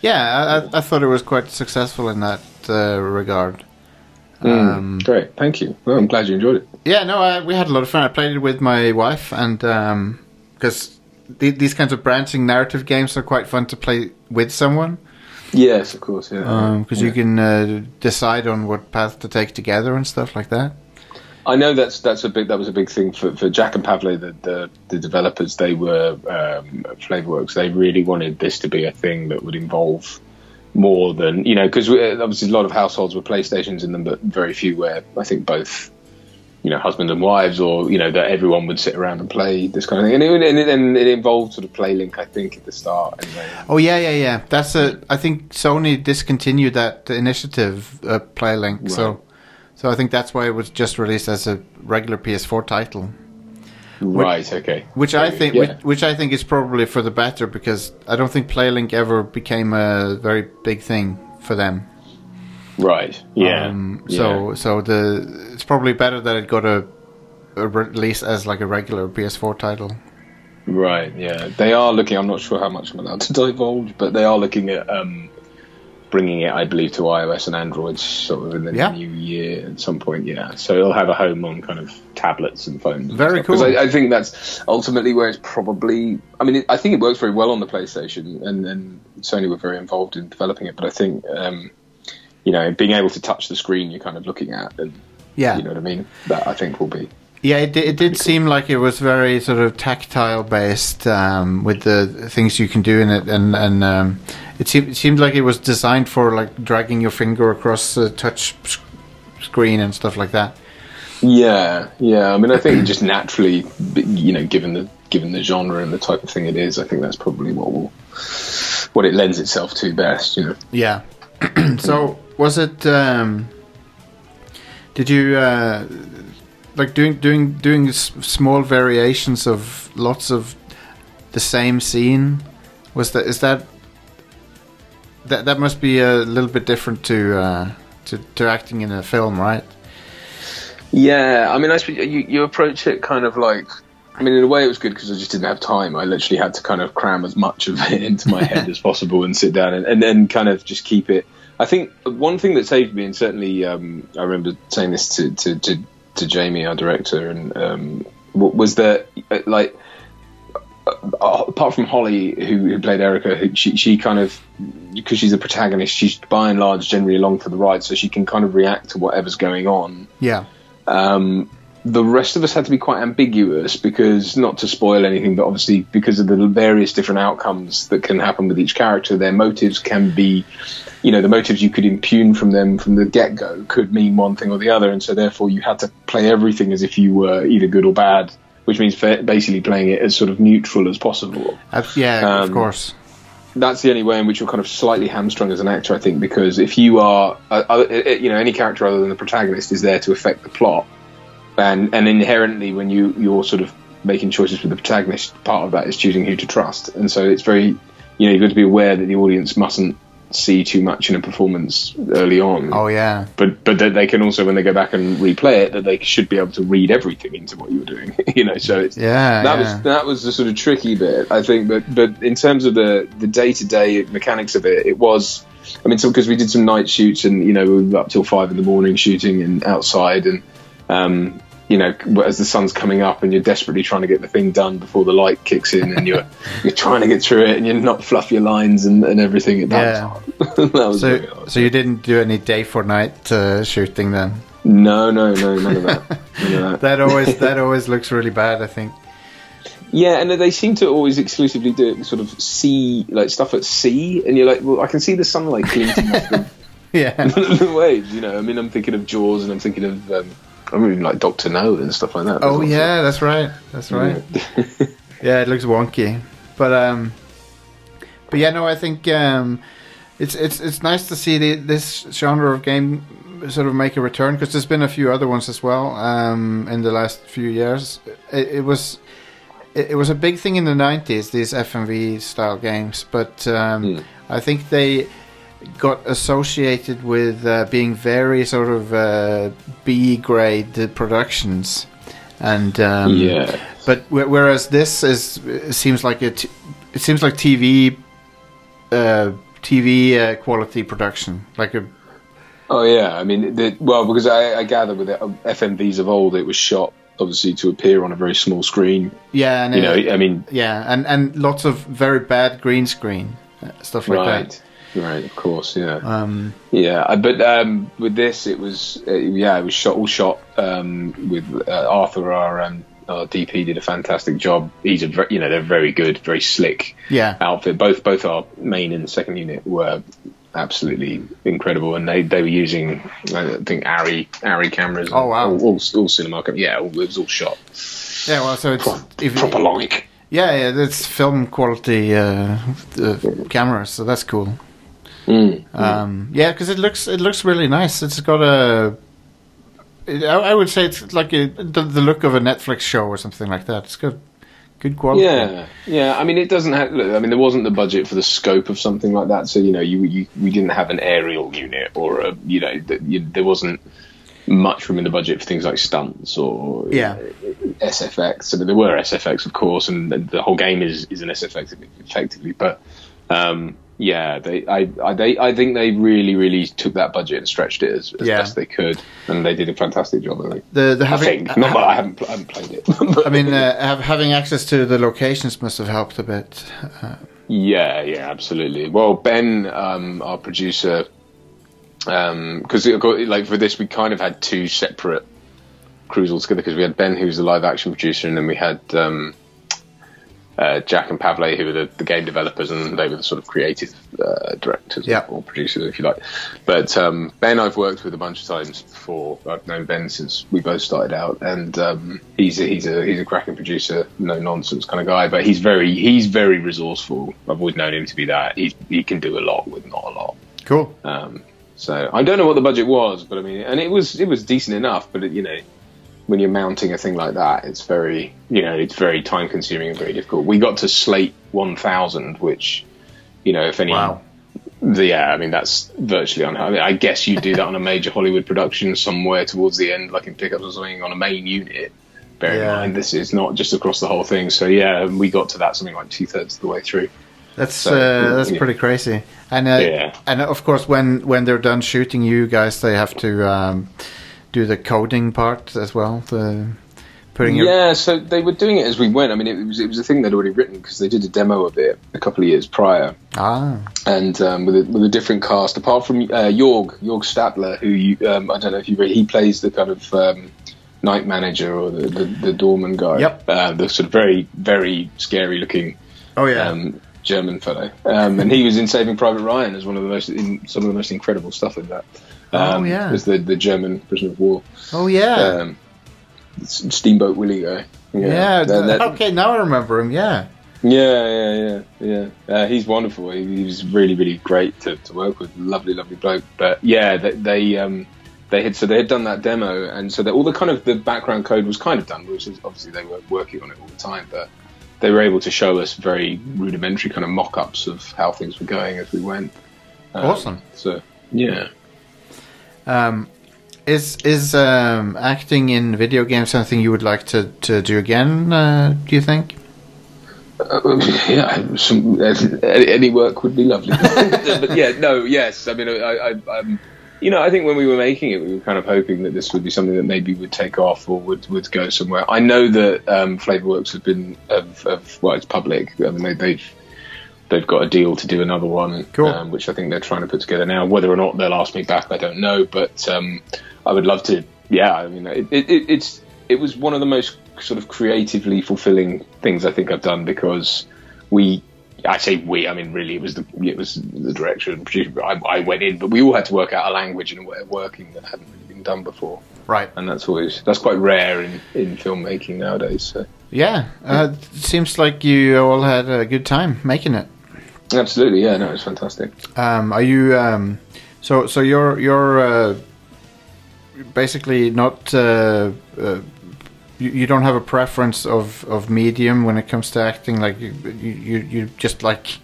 Speaker 1: Yeah, I- I, I thought it was quite successful in that uh, regard. Um,
Speaker 8: Great, thank you. Well, I'm glad you enjoyed it.
Speaker 1: yeah, no, I, we had a lot of fun. I played it with my wife, and because these kinds of branching narrative games are quite fun to play with someone.
Speaker 8: Yes, of course. Yeah,
Speaker 1: because Um, you can uh, decide on what path to take together and stuff like that.
Speaker 8: I know that's that's a big that was a big thing for, for Jack and Pavlo, the, the the developers. They were um, at Flavorworks. They really wanted this to be a thing that would involve more than you know, because obviously a lot of households were PlayStations in them, but very few were. I think both. You know, husband and wives, or you know, that everyone would sit around and play this kind of thing, and it, would- and it, and it involved sort of playlink, I think, at the start. Anyway,
Speaker 1: Oh yeah, yeah, yeah. That's a. I think Sony discontinued that initiative, uh, PlayLink. So, so I think that's why it was just released as a regular PS4 title,
Speaker 8: right? Okay.
Speaker 1: which I
Speaker 8: So,
Speaker 1: think,
Speaker 8: yeah.
Speaker 1: which, which I think is probably for the better because I don't think PlayLink ever became a very big thing for them.
Speaker 8: right? Yeah.
Speaker 1: Um, so, so the it's probably better that it got a, a release as like a regular PS4 title.
Speaker 8: Right, yeah. They are looking, I'm not sure how much I'm allowed to divulge, but they are looking at um, bringing it, I believe, to iOS and Android sort of in the
Speaker 1: Yeah.
Speaker 8: new year at some point, yeah. So it'll have a home on kind of tablets and phones.
Speaker 1: Very
Speaker 8: Because
Speaker 1: cool.
Speaker 8: I, I think that's ultimately where it's probably, I mean, it, I think it works very well on the PlayStation, and, and Sony were very involved in developing it, but I think, um, you know, being able to touch the screen you're kind of looking at, and
Speaker 1: Yeah,
Speaker 8: you know what I mean? That I think will be.
Speaker 1: Yeah, it, di- it did seem like it was very sort of tactile based um, with the things you can do in it, and and um, it seemed it seemed like it was designed for like dragging your finger across a touch sc- screen and stuff like that.
Speaker 8: Yeah, yeah. I mean, I think just naturally, you know, given the given the genre and the type of thing it is, I think that's probably what will what it lends itself to best. You know,
Speaker 1: Yeah. so was it? Um, did you uh, like doing doing doing s- small variations of lots of the same scene? Was that is that that that must be a little bit different to uh, to, to acting in a film, right?
Speaker 8: Yeah, I mean, I sp- you, you approach it kind of like. I mean, in a way, it was good because I just didn't have time. I literally had to kind of cram as much of it into my head as possible and sit down and, and then kind of just keep it. I think one thing that saved me, and certainly um, I remember saying this to, to, to, to Jamie, our director, and um, w- was that uh, like uh, apart from Holly, who, who played Erica, who, she she kind of because she's a protagonist, she's by and large generally along for the ride, so she can kind of react to whatever's going on
Speaker 1: Yeah.
Speaker 8: um, the rest of us had to be quite ambiguous because not to spoil anything, but obviously because of the various different outcomes that can happen with each character, their motives can be, you know, the motives you could impugn from them from the get go could mean one thing or the other, and so therefore you had to play everything as if you were either good or bad, which means fa- basically playing it as sort of neutral as possible
Speaker 1: Uh, yeah, of
Speaker 8: Um,
Speaker 1: course.
Speaker 8: that's the only way in which you're kind of slightly hamstrung as an actor, I think, because if you are, uh, uh, you know, any character other than the protagonist is there to affect the plot, and and inherently when you you're sort of making choices for the protagonist, part of that is choosing who to trust, and so it's very, you know, you've got to be aware that the audience mustn't see too much in a performance early on,
Speaker 1: Oh yeah.
Speaker 8: but but that they can also when they go back and replay it that they should be able to read everything into what you're doing, you know, so it's
Speaker 1: Yeah.
Speaker 8: that
Speaker 1: yeah.
Speaker 8: was that was the sort of tricky bit, I think. But but in terms of the the day to day mechanics of it, it was. I mean, because we did some night shoots, and you know, we were up till five in the morning shooting and outside, and um, you know, as the sun's coming up, and you're desperately trying to get the thing done before the light kicks in, and you're you're trying to get through it, and you're not fluff your lines and, and everything. That
Speaker 1: Yeah.
Speaker 8: was hard. that was very
Speaker 1: so
Speaker 8: hard.
Speaker 1: so you didn't do any day for night uh, shooting then?
Speaker 8: No, no, no, none of that. None of that.
Speaker 1: That always that always looks really bad. I think.
Speaker 8: Yeah, and they seem to always exclusively do it sort of sea, like stuff at sea, and you're like, well, I can see the sunlight glinting off the,
Speaker 1: Yeah.
Speaker 8: the waves. You know, I mean, I'm thinking of Jaws, and I'm thinking of, um, I'm even like Doctor No and stuff like that.
Speaker 1: Oh
Speaker 8: There's
Speaker 1: yeah, that's right. That's right. yeah, it looks wonky, but um, but yeah, no, I think um, it's it's it's nice to see the, this genre of game sort of make a return because there's been a few other ones as well um, in the last few years. It, it was it, it was a big thing in the '90s these FMV style games, but um, I think they got associated with uh, being very sort of uh, B grade productions, and um,
Speaker 8: Yeah.
Speaker 1: But wh- whereas this is it seems like it, it seems like TV, uh, TV uh, quality production, like a
Speaker 8: Oh yeah, I mean, the, well, because I, I gather with um, the FMVs of old, it was shot obviously to appear on a very small screen.
Speaker 1: yeah, and
Speaker 8: You know,
Speaker 1: uh,
Speaker 8: I mean,
Speaker 1: yeah, and and lots of very bad green screen uh, stuff like that.
Speaker 8: right, right, of course, yeah,
Speaker 1: Um,
Speaker 8: yeah. I- But um, with this, it was uh, yeah, it was shot all shot um, with uh, Arthur our, um, our DP did a fantastic job. He's a ver- you know they're very good, very slick
Speaker 1: yeah,
Speaker 8: outfit. Both both our main and second unit were absolutely incredible, and they, they were using I think Arri Arri cameras.
Speaker 1: Oh, wow.
Speaker 8: All, all, all Cinemark. Yeah, all, it was all shot
Speaker 1: yeah. Well, so it's if-
Speaker 8: proper like.
Speaker 1: Yeah, yeah, that's film quality uh, uh, cameras, so that's cool.
Speaker 8: Mm.
Speaker 1: Um, yeah, because it looks it looks really nice. It's got a, it, I, I would say it's like a, the, the look of a Netflix show or something like that. It's got good quality.
Speaker 8: Yeah, yeah. I mean, it doesn't have. Look, I mean, there wasn't the budget for the scope of something like that. So you know, you, you we didn't have an aerial unit or a you know th you, there wasn't much room in the budget for things like stunts or
Speaker 1: Yeah.
Speaker 8: SFX. I mean, there were SFX, of course, and the, the whole game is is an SFX effectively. But um, yeah, they I, I they I think they really really took that budget and stretched it as, as
Speaker 1: Yeah.
Speaker 8: best they could, and they did a fantastic job. I think.
Speaker 1: The the
Speaker 8: I
Speaker 1: having
Speaker 8: think. Not that I haven't, pl- I haven't played it. but-
Speaker 1: I mean uh, have, having access to the locations must have helped a bit.
Speaker 8: Yeah, yeah, absolutely. Well, Ben, um, our producer, because like for this, we kind of had two separate crews altogether because we had Ben, who's the live action producer, and then we had um, uh, Jack and Pavle, who were the, the game developers, and they were the sort of creative uh, directors
Speaker 1: Yeah.
Speaker 8: or producers, if you like. But um, Ben, I've worked with a bunch of times before. I've known Ben since we both started out, and um, he's a, he's a he's a cracking producer, no nonsense kind of guy. But he's very he's very resourceful. I've always known him to be that. He he can do a lot with not a lot.
Speaker 1: Cool.
Speaker 8: Um, so I don't know what the budget was, but I mean, and it was it was decent enough. But it, you know, when you're mounting a thing like that, it's very you know it's very time consuming and very difficult. We got to slate one thousand, which you know if any
Speaker 1: Wow.
Speaker 8: the- yeah, I mean that's virtually unheard. I, mean, I guess you do that on a major Hollywood production somewhere towards the end, like in pickups or something on a main unit. Bear
Speaker 1: Yeah.
Speaker 8: in mind, this is not just across the whole thing. So yeah, we got to that something like two thirds of the way through.
Speaker 1: That's
Speaker 8: So,
Speaker 1: uh, that's
Speaker 8: yeah.
Speaker 1: pretty crazy. And uh,
Speaker 8: Yeah.
Speaker 1: and of course, when when they're done shooting you guys, they have to um, do the coding part as well. The putting your
Speaker 8: Yeah, so they were doing it as we went. I mean, it was it was a thing they'd already written because they did a demo of it a couple of years prior,
Speaker 1: ah
Speaker 8: and um, with a, with a different cast. Apart from uh, Jorg Jorg Stadler, who you, um, I don't know if you re- he plays the kind of um, night manager or the, the, the doorman guy.
Speaker 1: Yep.
Speaker 8: uh, the sort of very very scary looking
Speaker 1: oh yeah
Speaker 8: um, German fellow, um, and he was in Saving Private Ryan as one of the most in, some of the most incredible stuff in that. Um,
Speaker 1: Oh, yeah.
Speaker 8: as the the German prisoner of war,
Speaker 1: oh yeah
Speaker 8: um, Steamboat Willie guy.
Speaker 1: yeah.
Speaker 8: that- that-
Speaker 1: okay, now I remember him. Yeah.
Speaker 8: yeah, yeah, yeah, yeah. Uh, he's wonderful. He, he was really, really great to, to work with. Lovely, lovely bloke. But yeah, they, they um they had so they had done that demo, and so that all the kind of the background code was kind of done, which is obviously they were working on it all the time, but they were able to show us very rudimentary kind of mock-ups of how things were going as we went. Um,
Speaker 1: Awesome.
Speaker 8: So yeah.
Speaker 1: Um, is is um, acting in video games something you would like to, to do again? Uh, do you think?
Speaker 8: Uh, yeah, some, uh, any work would be lovely. but yeah, no, yes. I mean, I, I, um, you know, I think when we were making it, we were kind of hoping that this would be something that maybe would take off or would, would go somewhere. I know that um, Flavorworks have been of, of well, it's public. I mean, they, they've they've got a deal to do another one,
Speaker 1: Cool.
Speaker 8: um, which I think they're trying to put together now. Whether or not they'll ask me back, I don't know. But um, I would love to. Yeah, I mean, it, it, it, it's it was one of the most sort of creatively fulfilling things I think I've done because we. I say we. I mean, really, it was the it was the director and producer. but I, I went in, but we all had to work out a language and a way of working that hadn't really been done before,
Speaker 1: Right.
Speaker 8: and that's always that's quite rare in in filmmaking nowadays. So.
Speaker 1: Yeah. Uh, it seems like you all had a good time making it.
Speaker 8: Absolutely, yeah, no, it's fantastic.
Speaker 1: Um, are you um, so so you're you're uh, basically not uh, uh, you, you don't have a preference of, of medium when it comes to acting like you you, you you just like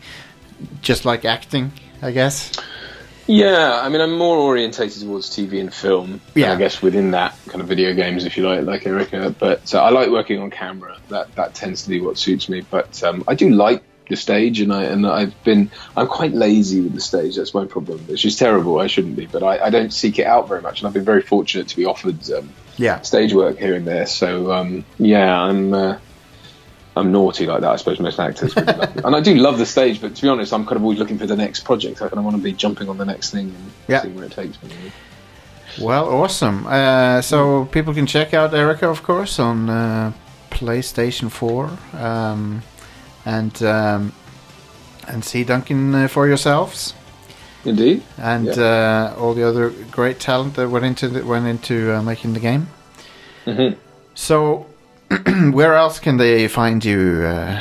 Speaker 1: just like acting I guess
Speaker 8: Yeah, I mean, I'm more orientated towards TV and film.
Speaker 1: Yeah.
Speaker 8: and I guess within that kind of video games, if you like, like Erica. But so I like working on camera. That that tends to be what suits me. But um, I do like the stage, and I and I've been I'm quite lazy with the stage. That's my problem, which is terrible. I shouldn't be, but I, I don't seek it out very much. And I've been very fortunate to be offered um,
Speaker 1: Yeah.
Speaker 8: stage work here and there. So um, yeah, I'm uh, I'm naughty like that. I suppose most actors, would love and I do love the stage. But to be honest, I'm kind of always looking for the next project. I kind of want to be jumping on the next thing and
Speaker 1: Yeah.
Speaker 8: seeing where it takes me.
Speaker 1: Well, awesome. Uh, so people can check out Erica, of course, on uh, PlayStation 4, um, and um, and see Duncan uh, for yourselves,
Speaker 8: Indeed.
Speaker 1: and uh, all the other great talent that went into that went into uh, making the game.
Speaker 8: Mm-hmm.
Speaker 1: So, where else can they find you? Uh,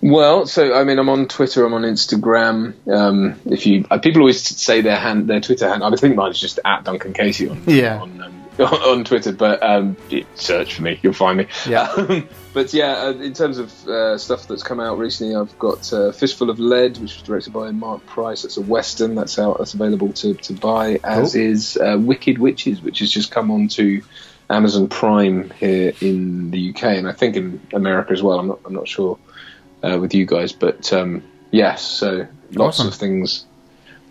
Speaker 8: Well, so I mean, I'm on Twitter, I'm on Instagram. Um, if you uh, people always say their hand, their Twitter hand. I think mine's just at Duncan Casey on
Speaker 1: Yeah.
Speaker 8: on, um, on Twitter, but um, you search for me, you'll find me.
Speaker 1: Yeah.
Speaker 8: Um, but yeah, uh, in terms of uh, stuff that's come out recently, I've got uh, Fistful of Lead, which was directed by Mark Price. That's a western. That's out. That's available to to buy. As
Speaker 1: Cool.
Speaker 8: is uh, Wicked Witches, which has just come on to. Amazon Prime here in the UK, and I think in America as well. I'm not, I'm not sure uh, with you guys. But um, yes, so lots
Speaker 1: Awesome.
Speaker 8: of things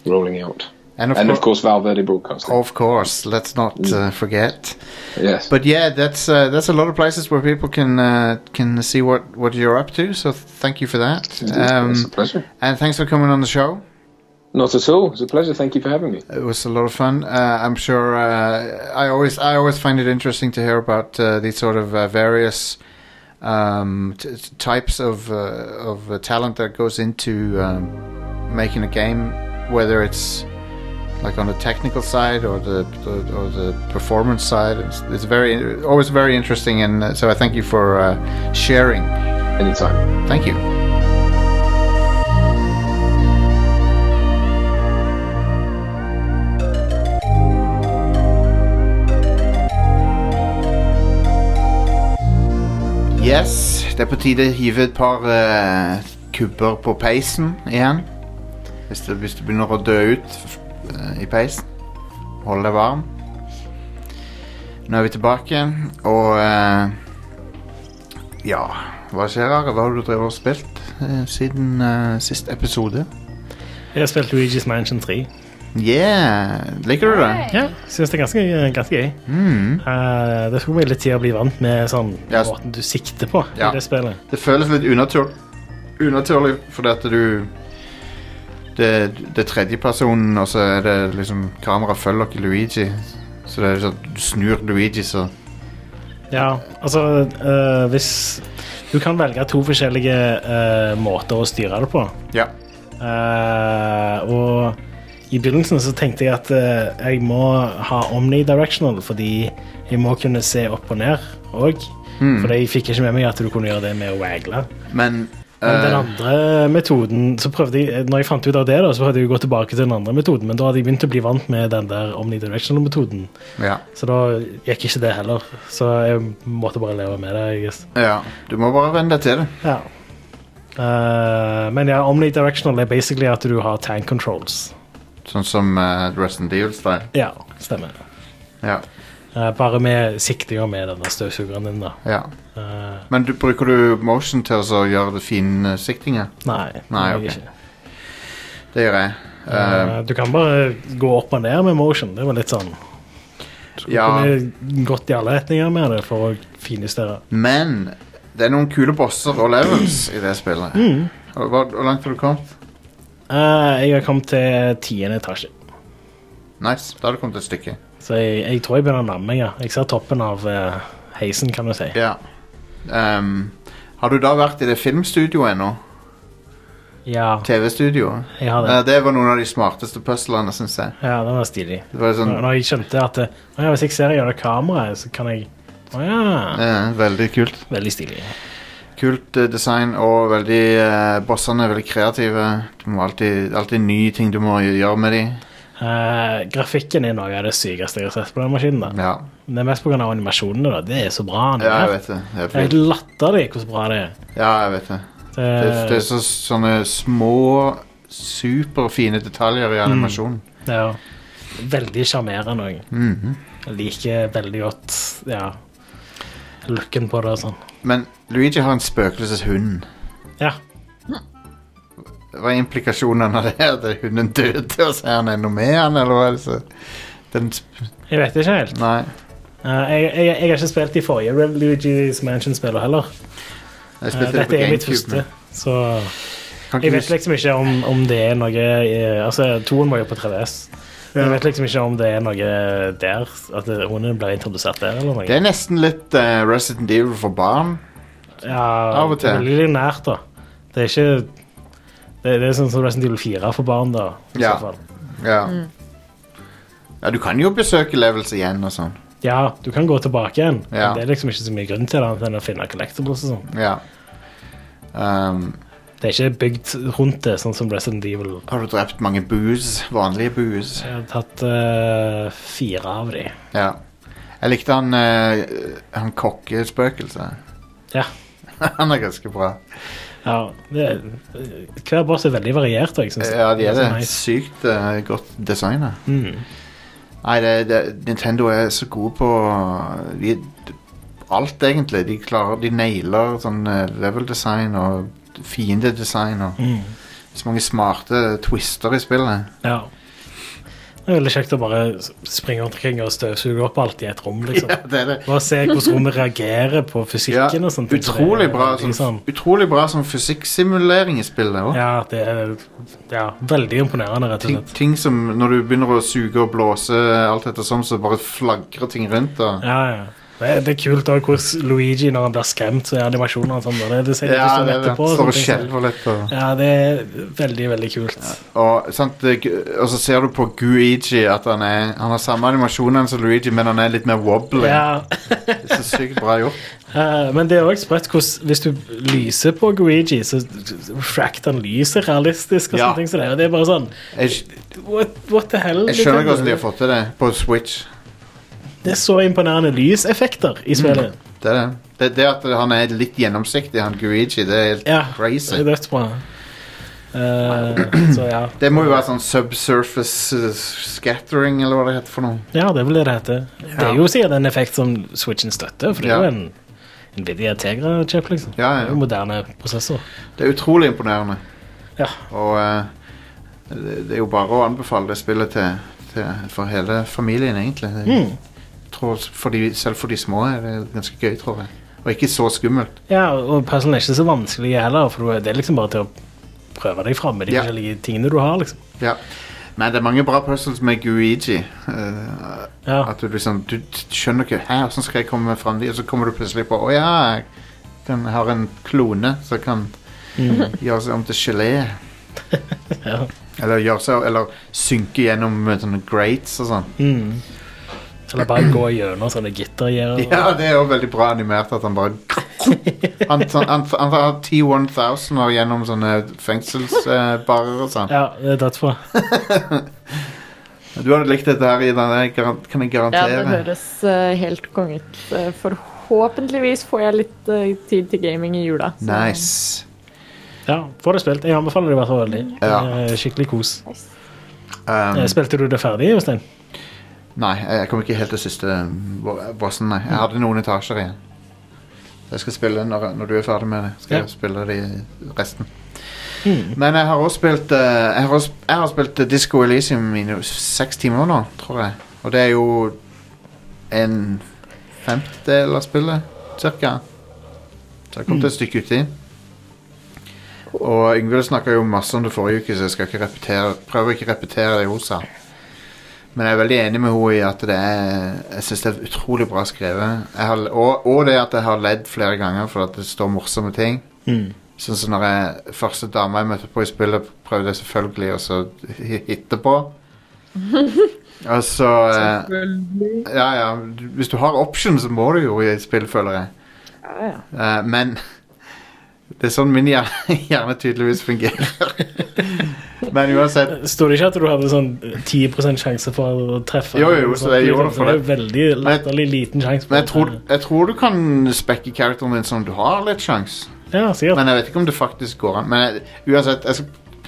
Speaker 8: rolling out.
Speaker 1: and of,
Speaker 8: and
Speaker 1: cour-
Speaker 8: of course, Mm. Valverde Broadcasting.
Speaker 1: of course, let's not uh, forget.
Speaker 8: yes.
Speaker 1: But yeah, that's uh, that's a lot of places where people can uh, can see what, what you're up to. So thank you for that,
Speaker 8: Indeed, it's a
Speaker 1: um,
Speaker 8: pleasure.
Speaker 1: and thanks for coming on the show.
Speaker 8: Not at all. It's a pleasure. Thank you for having me.
Speaker 1: It was a lot of fun. Uh, I'm sure uh, I always I always find it interesting to hear about uh, these sort of uh, various um, t- t- types of uh, of uh, talent that goes into um, making a game, whether it's like on the technical side or the or the performance side. It's, it's very always very interesting, and uh, so I thank you for uh, sharing.
Speaker 8: Anytime.
Speaker 1: Thank you. Yes, det er på tide å hive et par eh, kubber på peisen igjen. Hvis du, hvis du begynner å dø ut f- eh, i peisen. Hold deg varm. Nå er vi tilbake, og eh, ja, hva skjer her? Hva har du drevet og spilt eh, siden eh, sist episode?
Speaker 2: Jeg har spilt Luigi's Mansion 3.
Speaker 1: Yeah! Liker du det?
Speaker 2: Ja, synes det er ganske, ganske gøy. Eh, det tok meg litt tid å bli vant med sånn,
Speaker 1: Mm. Ja, s-
Speaker 2: måten du sikter på
Speaker 1: Ja.
Speaker 2: i det spillet.
Speaker 1: Det føles litt unatur unaturlig fordi at du det, det er tredjepersonen, og så er det liksom Kameraet følger ikke Luigi. Så det er sånn du snur Luigi, så
Speaker 2: Ja, altså eh, hvis Du kan velge to forskjellige eh, måter å styre det på.
Speaker 1: Ja.
Speaker 2: Eh, og i begynnelsen så tenkte jeg at eh, jeg må ha omnidirectional, fordi jeg må kunne se opp og ned òg. For jeg fikk ikke med meg at du kunne gjøre det med å wagle.
Speaker 1: Men, eh,
Speaker 2: Men den andre metoden så prøvde jeg, Når jeg fant ut av det, da, så prøvde jeg å gå tilbake til den andre metoden, men da hadde jeg begynt å bli vant med den der omnidirectional-metoden.
Speaker 1: ja,
Speaker 2: Så da gikk ikke det heller. Så jeg måtte bare leve med det. Jeg guess.
Speaker 1: ja. Du må bare venne deg til det.
Speaker 2: Ja. Eh, men ja, omnidirectional er basically at du har tank controls.
Speaker 1: Sånn som uh, Resten Deal-style.
Speaker 2: Ja, stemmer.
Speaker 1: Ja,
Speaker 2: Eh, bare med siktinga med denne støvsugeren din, da.
Speaker 1: ja.
Speaker 2: Eh,
Speaker 1: Men du, bruker du motion til å så gjøre det fine siktinga?
Speaker 2: nei. det
Speaker 1: Nei,
Speaker 2: gjør
Speaker 1: ok.
Speaker 2: jeg ikke.
Speaker 1: Det gjør jeg. Eh,
Speaker 2: Eh, du kan bare gå opp og ned med motion. Det var litt sånn
Speaker 1: ja.
Speaker 2: Kunne gått i alle retninger med det for å finjustere.
Speaker 1: Men det er noen kule bosser og levels i det spillet. Hvor, hvor- hvor langt har du kommet?
Speaker 2: Eh, jeg har kommet til tiende etasje,
Speaker 1: Nice. Da har du kommet et stykke.
Speaker 2: så jeg, jeg tror jeg begynner å nærme meg. Ja. Jeg ser toppen av eh, heisen, kan du si.
Speaker 1: Ja. Ehm, har du da vært i det filmstudioet ennå?
Speaker 2: Ja,
Speaker 1: TV-studioet?
Speaker 2: jeg har det.
Speaker 1: Eh, Det var noen av de smarteste puzzlene, syns jeg.
Speaker 2: Ja, den var stilig.
Speaker 1: Det var
Speaker 2: Når
Speaker 1: sånn
Speaker 2: når jeg skjønte at eh, «Å ja, hvis jeg ser gjennom kameraet, så kan jeg Å ja.
Speaker 1: eh, Veldig kult.
Speaker 2: Veldig stilig.
Speaker 1: Kult eh, design og veldig eh, Bossene er veldig kreative. Du må alltid, alltid nye ting du må gjøre med dem.
Speaker 2: Eh, grafikken er noe av det sykeste jeg har sett på den maskinen. da.
Speaker 1: Ja.
Speaker 2: Det er mest pga. animasjonene. da. Det er så bra. den
Speaker 1: ja, jeg
Speaker 2: er.
Speaker 1: vet det. Det er
Speaker 2: det er
Speaker 1: flott.
Speaker 2: helt latterlig hvor bra det er.
Speaker 1: Ja, jeg vet det.
Speaker 2: Det,
Speaker 1: Det, det er så, sånne små superfine detaljer i animasjonen.
Speaker 2: Ja. Veldig sjarmerende òg.
Speaker 1: Mhm.
Speaker 2: Jeg liker veldig godt ja, looken på det og sånn.
Speaker 1: Men Luigi har en spøkelseshund.
Speaker 2: Ja.
Speaker 1: Hva er implikasjonene av det? Er det hunden døde, og så er han ennå med han, eller hva er det så? Den, sp-
Speaker 2: Jeg vet ikke helt.
Speaker 1: nei,
Speaker 2: Eh, jeg, jeg, jeg har ikke spilt de forrige Re- Luigi's Mansion-spillene heller.
Speaker 1: jeg
Speaker 2: Eh,
Speaker 1: spilte det
Speaker 2: dette
Speaker 1: på
Speaker 2: er mitt
Speaker 1: GameCube.
Speaker 2: første,
Speaker 1: men
Speaker 2: så
Speaker 1: Kan ikke
Speaker 2: jeg vet
Speaker 1: huske-
Speaker 2: liksom ikke om, om det er noe i- Altså, toen var jo på 3DS. Jeg vet liksom ikke om det er noe der, at det- hunden blir introdusert der eller noe.
Speaker 1: det er nesten litt eh, Resident Evil for barn.
Speaker 2: Ja,
Speaker 1: Av og
Speaker 2: det er
Speaker 1: til.
Speaker 2: veldig nært, da. Det er ikke Det, det er sånn som Resident Evil 4 for barn, da. I
Speaker 1: Ja.
Speaker 2: så fall.
Speaker 1: Ja. ja, du kan jo besøke levels igjen og sånn.
Speaker 2: ja, du kan gå tilbake igjen.
Speaker 1: Ja.
Speaker 2: Men det er liksom ikke så mye grunn til det, annet enn å finne collectibles og sånn.
Speaker 1: Ja. Um,
Speaker 2: Det er ikke bygd rundt det, sånn som Resident Evil.
Speaker 1: har du drept mange boos? Vanlige boos?
Speaker 2: Jeg har tatt eh, fire av de.
Speaker 1: Ja. Jeg likte han, uh, han kokkespøkelset.
Speaker 2: Ja.
Speaker 1: han er ganske bra.
Speaker 2: ja det, hver boss er veldig variert, og jeg synes
Speaker 1: Ja, de er
Speaker 2: så
Speaker 1: det.
Speaker 2: nice.
Speaker 1: Sykt eh, godt designa.
Speaker 2: Mm.
Speaker 1: Nei, det, det, Nintendo er så gode på eh, de, alt, egentlig. De klarer, de nailer sånn eh, level design og fiendedesign og
Speaker 2: Mm.
Speaker 1: så mange smarte twister i spillet.
Speaker 2: Ja. Det er veldig kjekt å bare springe rundt omkring og støvsuge opp alt i et rom, liksom.
Speaker 1: Ja, det er det.
Speaker 2: Bare se hvordan rommet reagerer på fysikken og sånt.
Speaker 1: utrolig,
Speaker 2: Det er
Speaker 1: bra,
Speaker 2: veldig
Speaker 1: sånn,
Speaker 2: sånn-
Speaker 1: utrolig bra sånn fysikksimulering i spillet òg.
Speaker 2: Ja, det er ja, veldig imponerende, rett og
Speaker 1: Ting,
Speaker 2: slett.
Speaker 1: ting som når du begynner å suge og blåse alt etter sånn, så bare flagrer ting rundt. Og,
Speaker 2: Ja, ja. Det er, det er kult også hvordan Luigi, når han blir skremt, så er animasjonene og sånn. og Det, det ser
Speaker 1: ja,
Speaker 2: sånn
Speaker 1: det, det,
Speaker 2: etterpå. og
Speaker 1: står
Speaker 2: sånne
Speaker 1: og
Speaker 2: ting som-
Speaker 1: skjelver litt. Og,
Speaker 2: Ja, det er veldig, veldig kult.
Speaker 1: Og, sant, det- og så ser du på Guigi at han, er, han har samme animasjonene som Luigi, men han er litt mer wobbly.
Speaker 2: Ja.
Speaker 1: Det er så sykt bra gjort.
Speaker 2: eh, men det er òg sprøtt hvordan hvis du lyser på Guigi, så refracter han lyset realistisk. og
Speaker 1: Ja.
Speaker 2: sånne ting som det, er, og det er bare sånn
Speaker 1: Jeg, sk-
Speaker 2: What, what the hell? liksom?
Speaker 1: jeg skjønner ikke hvordan de har fått til det på Switch.
Speaker 2: Det er så imponerende lyseffekter i spillet.
Speaker 1: Det er det. Det, det at han er litt gjennomsiktig, han Guigi, det er helt
Speaker 2: Ja, det
Speaker 1: crazy.
Speaker 2: er dødsbra. Eh, så ja.
Speaker 1: Det må jo være sånn subsurface eh, scattering, eller hva det heter for noe.
Speaker 2: ja, det er vel det det heter. Det er jo sikkert en effekt som Switchen støtter, for det er
Speaker 1: Ja.
Speaker 2: jo en Nvidia Tegra-chip, liksom.
Speaker 1: Ja, ja.
Speaker 2: Det er jo moderne prosessor.
Speaker 1: Det er utrolig imponerende.
Speaker 2: Ja.
Speaker 1: Og eh, det, det er jo bare å anbefale det spillet til, til, for hele familien, egentlig. Det,
Speaker 2: Mm.
Speaker 1: jeg tror, for de, selv for de små er det ganske gøy, tror jeg. Og ikke så skummelt.
Speaker 2: Ja, og puzzlen er ikke så vanskelig heller, for du- det er liksom bare til å prøve deg fram med de
Speaker 1: Ja.
Speaker 2: forskjellige tingene du har, liksom.
Speaker 1: Ja. Men det er mange bra puzzles med Guigi. eh,
Speaker 2: Ja,
Speaker 1: at du liksom Du t- skjønner ikke Hæ, hvordan skal jeg komme meg fram dit? Og så kommer du plutselig på Å ja, jeg kan, har en klone som kan
Speaker 2: Mm.
Speaker 1: gjøre seg om til gelé.
Speaker 2: Ja.
Speaker 1: Eller, gjøre seg, eller synke gjennom eh, sånne grates og sånn.
Speaker 2: mm. Eller bare gå gjennom sånne gittergjerder.
Speaker 1: Ja, det er jo veldig bra animert at han bare Han, han, han, han tar T-1000 og gjennom sånne fengselsbarer og sånn.
Speaker 2: Ja, det er dødsbra.
Speaker 1: Du hadde likt dette her, Ida. Det garan- kan jeg
Speaker 3: Ja, det
Speaker 1: garantere.
Speaker 3: høres eh, helt konge ut. Eh, forhåpentligvis får jeg litt eh, tid til gaming i jula. så-
Speaker 1: nice.
Speaker 2: Ja, få det spilt. Jeg anbefaler det i hvert fall veldig.
Speaker 1: Ja.
Speaker 2: Det er Skikkelig kos.
Speaker 1: Um,
Speaker 2: Eh, Spilte du det ferdig, Jostein?
Speaker 1: nei, jeg kom ikke helt til siste bo- bossen, nei. Jeg hadde noen etasjer igjen. Jeg skal spille når, når du er ferdig med det. Skal
Speaker 2: Ja.
Speaker 1: jeg spille de resten. Men jeg har også spilt eh, Jeg har, også, jeg har spilt eh, Disco Elysium i no- seks timer nå, tror jeg. Og det er jo en femtedel av spillet, cirka. Så jeg kom til et stykke uti. Og Yngvild snakka jo masse om det forrige uke, så jeg skal ikke repetere, prøver ikke å repetere det hun sa. Men jeg er veldig enig med henne i at det er Jeg synes det er utrolig bra skrevet. Jeg har, og, og det at jeg har ledd flere ganger for at det står morsomme ting. Sånn som når jeg, første dame jeg møtte på i spillet, prøvde jeg selvfølgelig å så hi- hitte på. Og så Selvfølgelig. Ja, ja. du- Hvis du har option, så må du jo i et spill, føler jeg. Eh, men det er sånn min hjerne, hjerne tydeligvis fungerer. men uansett
Speaker 2: Sto det ikke at du hadde sånn 10 sjanse for å treffe?
Speaker 1: Jo, jo, så jeg gjorde det for
Speaker 2: det. er veldig latterlig liten sjanse. for
Speaker 1: Men jeg tror,
Speaker 2: det.
Speaker 1: jeg tror du kan spekke karakteren din sånn at du har litt sjans.
Speaker 2: Ja, sikkert.
Speaker 1: Men jeg vet ikke om det faktisk går an. Men jeg, uansett, jeg, skal-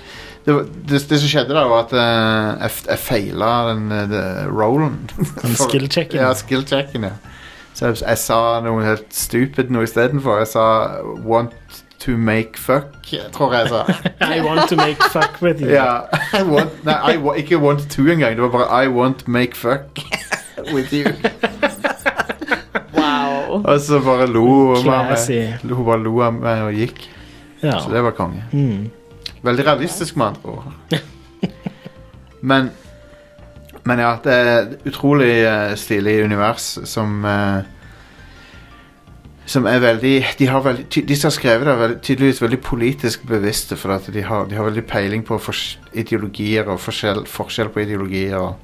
Speaker 1: det, var- det, det som skjedde, da, var at eh, jeg, f- jeg feila den eh, det- rollen.
Speaker 2: Den
Speaker 1: For-
Speaker 2: skill-checken.
Speaker 1: Ja, skill-checken, ja. Så jeg, jeg sa noe helt stupid noe istedenfor. Jeg sa 'want to make fuck', tror jeg jeg sa.
Speaker 2: I want to make fuck with you.
Speaker 1: Ja, I want, nei, I, wa- ikke want to engang. Det var bare I want make fuck with you.
Speaker 3: Wow.
Speaker 1: Og så bare lo hun av meg.
Speaker 2: Classy.
Speaker 1: Hun bare lo av meg og gikk.
Speaker 2: Ja.
Speaker 1: Så det var konge.
Speaker 2: Mm.
Speaker 1: Veldig realistisk, med andre ord. Men Men ja, det er et utrolig eh, stilig univers som eh, som er veldig De, har veldig, ty- de som har skrevet det, er veldig, tydeligvis veldig politisk bevisste, for at de har, de har veldig peiling på fors- ideologier og forskjell, forskjell på ideologier. Og,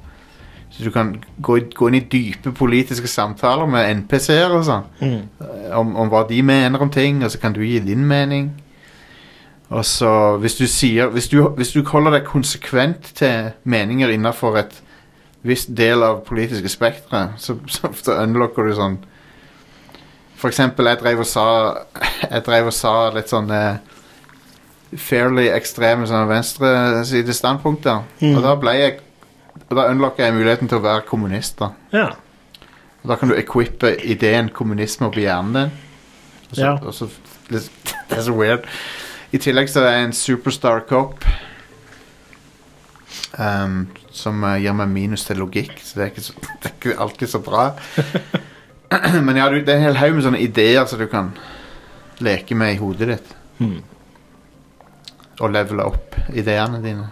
Speaker 1: så du kan gå, i- gå inn i dype politiske samtaler med NPC-er og sånn
Speaker 2: Mm.
Speaker 1: om, om hva de mener om ting, og så kan du gi din mening. Og så hvis du sier Hvis du, hvis du holder deg konsekvent til meninger innafor et visst del av politiske spekteret, så, så, så unlocker du sånn For eksempel, jeg drev og sa Jeg drev og sa litt sånn eh, fairly ekstreme sånne venstresidestandpunkter.
Speaker 2: Mm.
Speaker 1: Og da ble jeg Og da unlocka jeg muligheten til å være kommunist, da.
Speaker 2: ja.
Speaker 1: Og Da kan du equippe ideen kommunisme på hjernen din. Og så,
Speaker 2: Ja.
Speaker 1: og så, det, det er så weird. I tillegg så er jeg en superstar cop. ehm, som eh, gir meg minus til logikk, så det er ikke, så, det er ikke alltid så bra. Men ja, du, det er en hel haug med sånne ideer som du kan leke med i hodet ditt.
Speaker 2: Mm.
Speaker 1: Og levele opp ideene dine.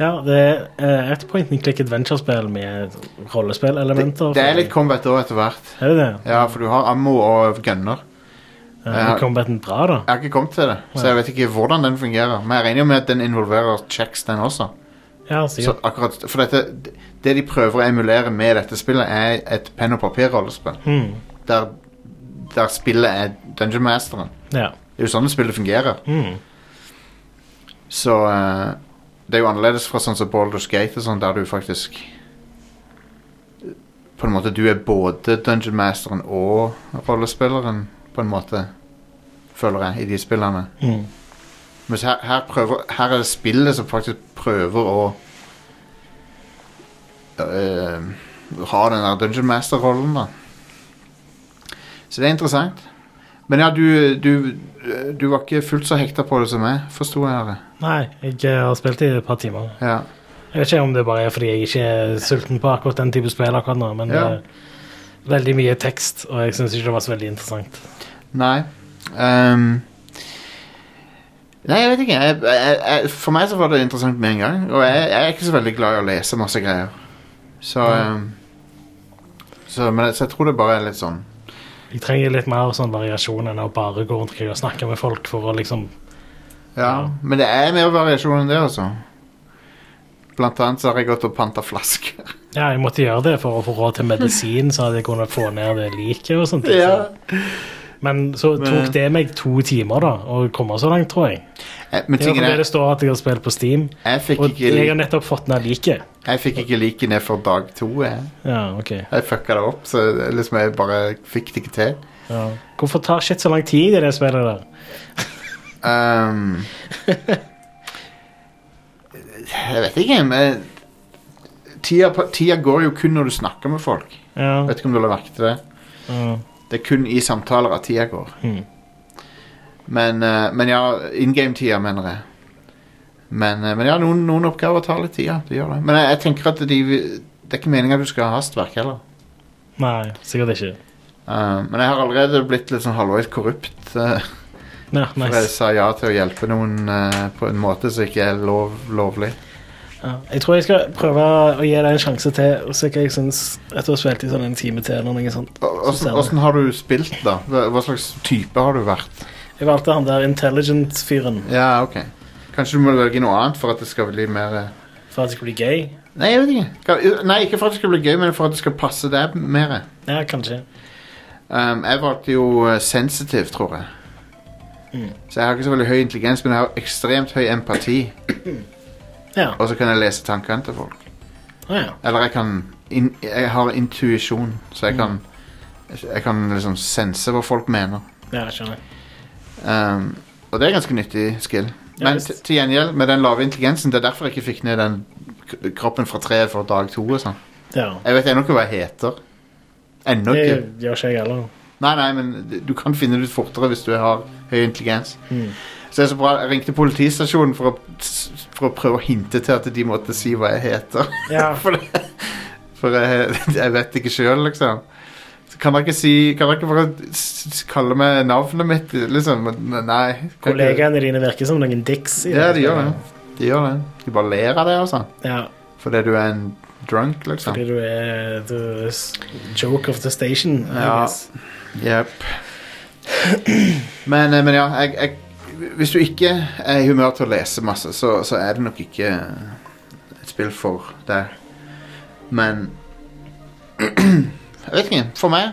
Speaker 2: ja, det er eh, et point and click adventure-spill med
Speaker 1: Det,
Speaker 2: rollespillelementer.
Speaker 1: det er litt combat òg etter hvert.
Speaker 2: Er det det?
Speaker 1: Ja, for du har ammo og gunner.
Speaker 2: Er
Speaker 1: Ja.
Speaker 2: combaten bra, da?
Speaker 1: Jeg har ikke kommet til det, så jeg vet ikke hvordan den fungerer. Men jeg regner jo med at den involverer checks, den også.
Speaker 2: Ja,
Speaker 1: Så
Speaker 2: sikkert.
Speaker 1: akkurat, for dette, det de prøver å emulere med dette spillet, er et penn og papir-rollespill.
Speaker 2: Mm.
Speaker 1: Der, der spillet er Dungeon Masteren.
Speaker 2: Ja.
Speaker 1: Det er jo sånn det spillet fungerer.
Speaker 2: Mm.
Speaker 1: Så eh, det er jo annerledes fra sånn som Baldur's Gate, og sånn, der du faktisk På en måte, du er både Dungeon Masteren og rollespilleren, på en måte, føler jeg, i de spillene.
Speaker 2: Mm.
Speaker 1: Men her, her, prøver, her er det spillet som faktisk prøver å øh, Ha den der Dungeon Master-rollen, da. Så det er interessant. Men ja, du, du, du var ikke fullt så hekta på det som meg, forsto jeg det.
Speaker 2: Nei, jeg eh, har spilt i et par timer.
Speaker 1: Ja.
Speaker 2: Jeg vet ikke om det bare er fordi jeg ikke er sulten på akkurat den type spill akkurat nå, men
Speaker 1: Ja.
Speaker 2: det er veldig mye tekst, og jeg syns ikke det var så veldig interessant.
Speaker 1: Nei. Ehm, nei, jeg vet ikke. Jeg, jeg, jeg, for meg så var det interessant med en gang. Og jeg, jeg er ikke så veldig glad i å lese masse greier. Så, ehm, så, men, jeg- så jeg tror det bare er litt sånn
Speaker 2: Jeg trenger litt mer sånn variasjon enn å bare gå rundt omkring og snakke med folk for å liksom
Speaker 1: Ja,
Speaker 2: Ja.
Speaker 1: men det er mer variasjon enn det, altså. Blant annet så har jeg gått og panta flasker.
Speaker 2: Ja, jeg måtte gjøre det for å få råd til medisin, sånn at jeg kunne få ned det liket og sånt. så- Men så tok det meg to timer, da, å komme så langt, tror jeg.
Speaker 1: Eh, Men
Speaker 2: Det er
Speaker 1: tingen
Speaker 2: fordi
Speaker 1: er,
Speaker 2: det står at jeg har spilt på Steam,
Speaker 1: jeg fikk
Speaker 2: og
Speaker 1: ikke,
Speaker 2: jeg har
Speaker 1: li-
Speaker 2: nettopp fått ned liket.
Speaker 1: jeg fikk ikke like ned for dag to. Jeg,
Speaker 2: Ja, ok.
Speaker 1: jeg fucka det opp, så det- liksom jeg bare fikk det ikke til.
Speaker 2: Ja. Hvorfor tar shit så lang tid i det spillet der?
Speaker 1: Ehm, jeg vet ikke, men tida, på- tida går jo kun når du snakker med folk.
Speaker 2: Ja,
Speaker 1: Vet ikke om du la merke til det.
Speaker 2: ja.
Speaker 1: Det er kun i samtaler at tida går.
Speaker 2: Mhm.
Speaker 1: Men, eh, men ja, in game-tida, mener jeg. Men, eh, men ja, noen, noen oppgaver tar litt tid. Ja, det gjør det. Men jeg, jeg tenker at de, det er ikke meninga at du skal ha hastverk heller.
Speaker 2: Nei, sikkert ikke.
Speaker 1: Eh, men jeg har allerede blitt litt sånn halvveis korrupt. eh,
Speaker 2: Ja,
Speaker 1: For jeg
Speaker 2: nice.
Speaker 1: sa ja til å hjelpe noen eh, på en måte som ikke er lov, lovlig.
Speaker 2: ja. Jeg tror jeg skal prøve å gi deg en sjanse til, og se hva jeg syns etter å ha spilt i sånn en time til. eller noe sånt.
Speaker 1: Å-
Speaker 2: Så ser
Speaker 1: Åssen
Speaker 2: vi.
Speaker 1: åssen har du spilt, da? Hva hva slags type har du vært?
Speaker 2: Jeg valgte han der intelligent-fyren
Speaker 1: Ja, ok Kanskje du må velge noe annet for at det skal bli mer eh,
Speaker 2: for at det skulle bli gøy.
Speaker 1: Nei, jeg vet ikke. Ka- eh, Nei, ikke for at det skal bli gøy, men for at det skal passe deg mer.
Speaker 2: Ja, kanskje.
Speaker 1: Um, jeg valgte jo eh, sensitiv, tror jeg.
Speaker 2: Mm.
Speaker 1: Så jeg har ikke så veldig høy intelligens, men jeg har ekstremt høy empati.
Speaker 2: Ja.
Speaker 1: Og så kan jeg lese tankene til folk.
Speaker 2: Å ja.
Speaker 1: Eller jeg kan in, Jeg har intuisjon, så jeg kan Jeg kan liksom sense hva folk mener.
Speaker 2: ja, skjønner.
Speaker 1: Ehm, Um, og det er ganske nyttig skill. Men
Speaker 2: visst.
Speaker 1: t- til gjengjeld, med den lave intelligensen, det er derfor jeg ikke fikk ned den k- kroppen fra treet for dag to. og sånn.
Speaker 2: Ja.
Speaker 1: Jeg vet ennå ikke hva jeg heter. Ennå
Speaker 2: Det
Speaker 1: ikke.
Speaker 2: gjør ikke jeg heller.
Speaker 1: Nei, nei, men d- du kan finne det ut fortere hvis du har høy intelligens.
Speaker 2: Mm.
Speaker 1: Så det er så bra, Jeg ringte politistasjonen for å, s- for å prøve å hinte til at de måtte si hva jeg heter.
Speaker 2: Ja.
Speaker 1: For, det, for jeg, jeg vet ikke sjøl, liksom. Så Kan dere ikke si Kan dere ikke bare s- s- kalle meg navnet mitt, liksom? Men Nei. kan ikke-
Speaker 2: Kollegaene dine virker som noen dicks. i
Speaker 1: Ja, de gjør det. De gjør det. De bare ler av det, altså.
Speaker 2: Ja,
Speaker 1: Fordi du er en drunk, liksom.
Speaker 2: fordi du er the s- joke of the station. I
Speaker 1: Ja.
Speaker 2: guess.
Speaker 1: Jepp. Men, eh, men ja, jeg, jeg, hvis du ikke er i humør til å lese masse, så, så er det nok ikke et spill for deg. Men Jeg vet ikke. For meg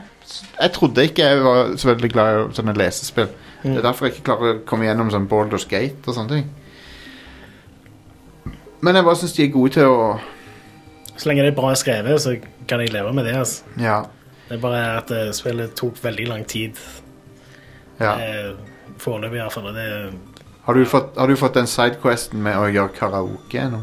Speaker 1: Jeg trodde ikke jeg var så veldig glad i sånne lesespill. Det er derfor jeg ikke klarer å komme gjennom sånn Baldur's Gate og sånne ting. Men jeg bare syns de er gode til å
Speaker 2: Så lenge det er bra skrevet, så kan jeg leve med det. altså.
Speaker 1: Ja.
Speaker 2: Det er bare at eh, spillet tok veldig lang tid.
Speaker 1: ja.
Speaker 2: Eh, Foreløpig, i hvert fall. og Det,
Speaker 1: Har du fått, har du fått den sidequesten med å gjøre karaoke nå?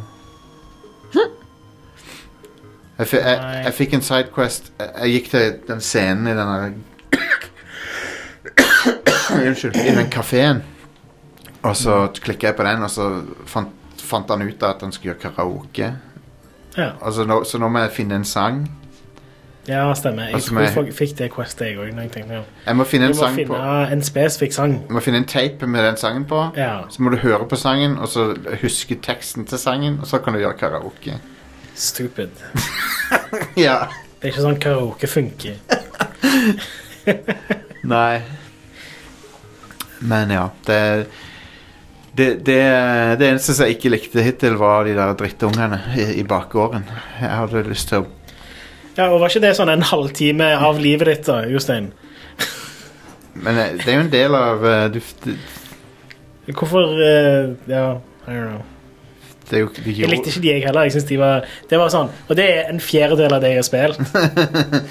Speaker 1: Jeg, fi- jeg,
Speaker 2: Nei.
Speaker 1: jeg fikk en sidequest jeg, jeg gikk til den scenen i denne Unnskyld. I den kafeen. Og så
Speaker 2: Mm.
Speaker 1: klikka jeg på den, og så fant, fant han ut at han skulle gjøre karaoke.
Speaker 2: ja.
Speaker 1: Altså, nå, så nå må jeg finne en sang.
Speaker 2: ja, stemmer. Jeg
Speaker 1: Altså,
Speaker 2: tror
Speaker 1: meg-
Speaker 2: jeg fak- fikk det questet, jeg òg.
Speaker 1: Jeg må finne
Speaker 2: Du
Speaker 1: en
Speaker 2: må
Speaker 1: sang
Speaker 2: finne
Speaker 1: på
Speaker 2: en spesifikk sang.
Speaker 1: Du må finne en tape med den sangen på.
Speaker 2: Ja.
Speaker 1: Så må du høre på sangen, og så huske teksten til sangen, og så kan du gjøre karaoke.
Speaker 2: Stupid.
Speaker 1: Ja.
Speaker 2: Det er ikke sånn karaoke funker.
Speaker 1: Nei. Men ja, det det, det, det eneste som jeg ikke likte hittil, var de der drittungene i, i bakgården. Jeg hadde lyst til å
Speaker 2: Ja, og Var ikke det sånn en halvtime av livet ditt, da, Jostein?
Speaker 1: Men eh, det er jo en del av eh, du, det,
Speaker 2: Hvorfor eh, Ja, I don't know.
Speaker 1: det er jo, de
Speaker 2: Jeg
Speaker 1: gjorde-
Speaker 2: likte ikke de, jeg heller. Jeg synes de var, det var sånn, Og det er en fjerdedel av det jeg har spilt.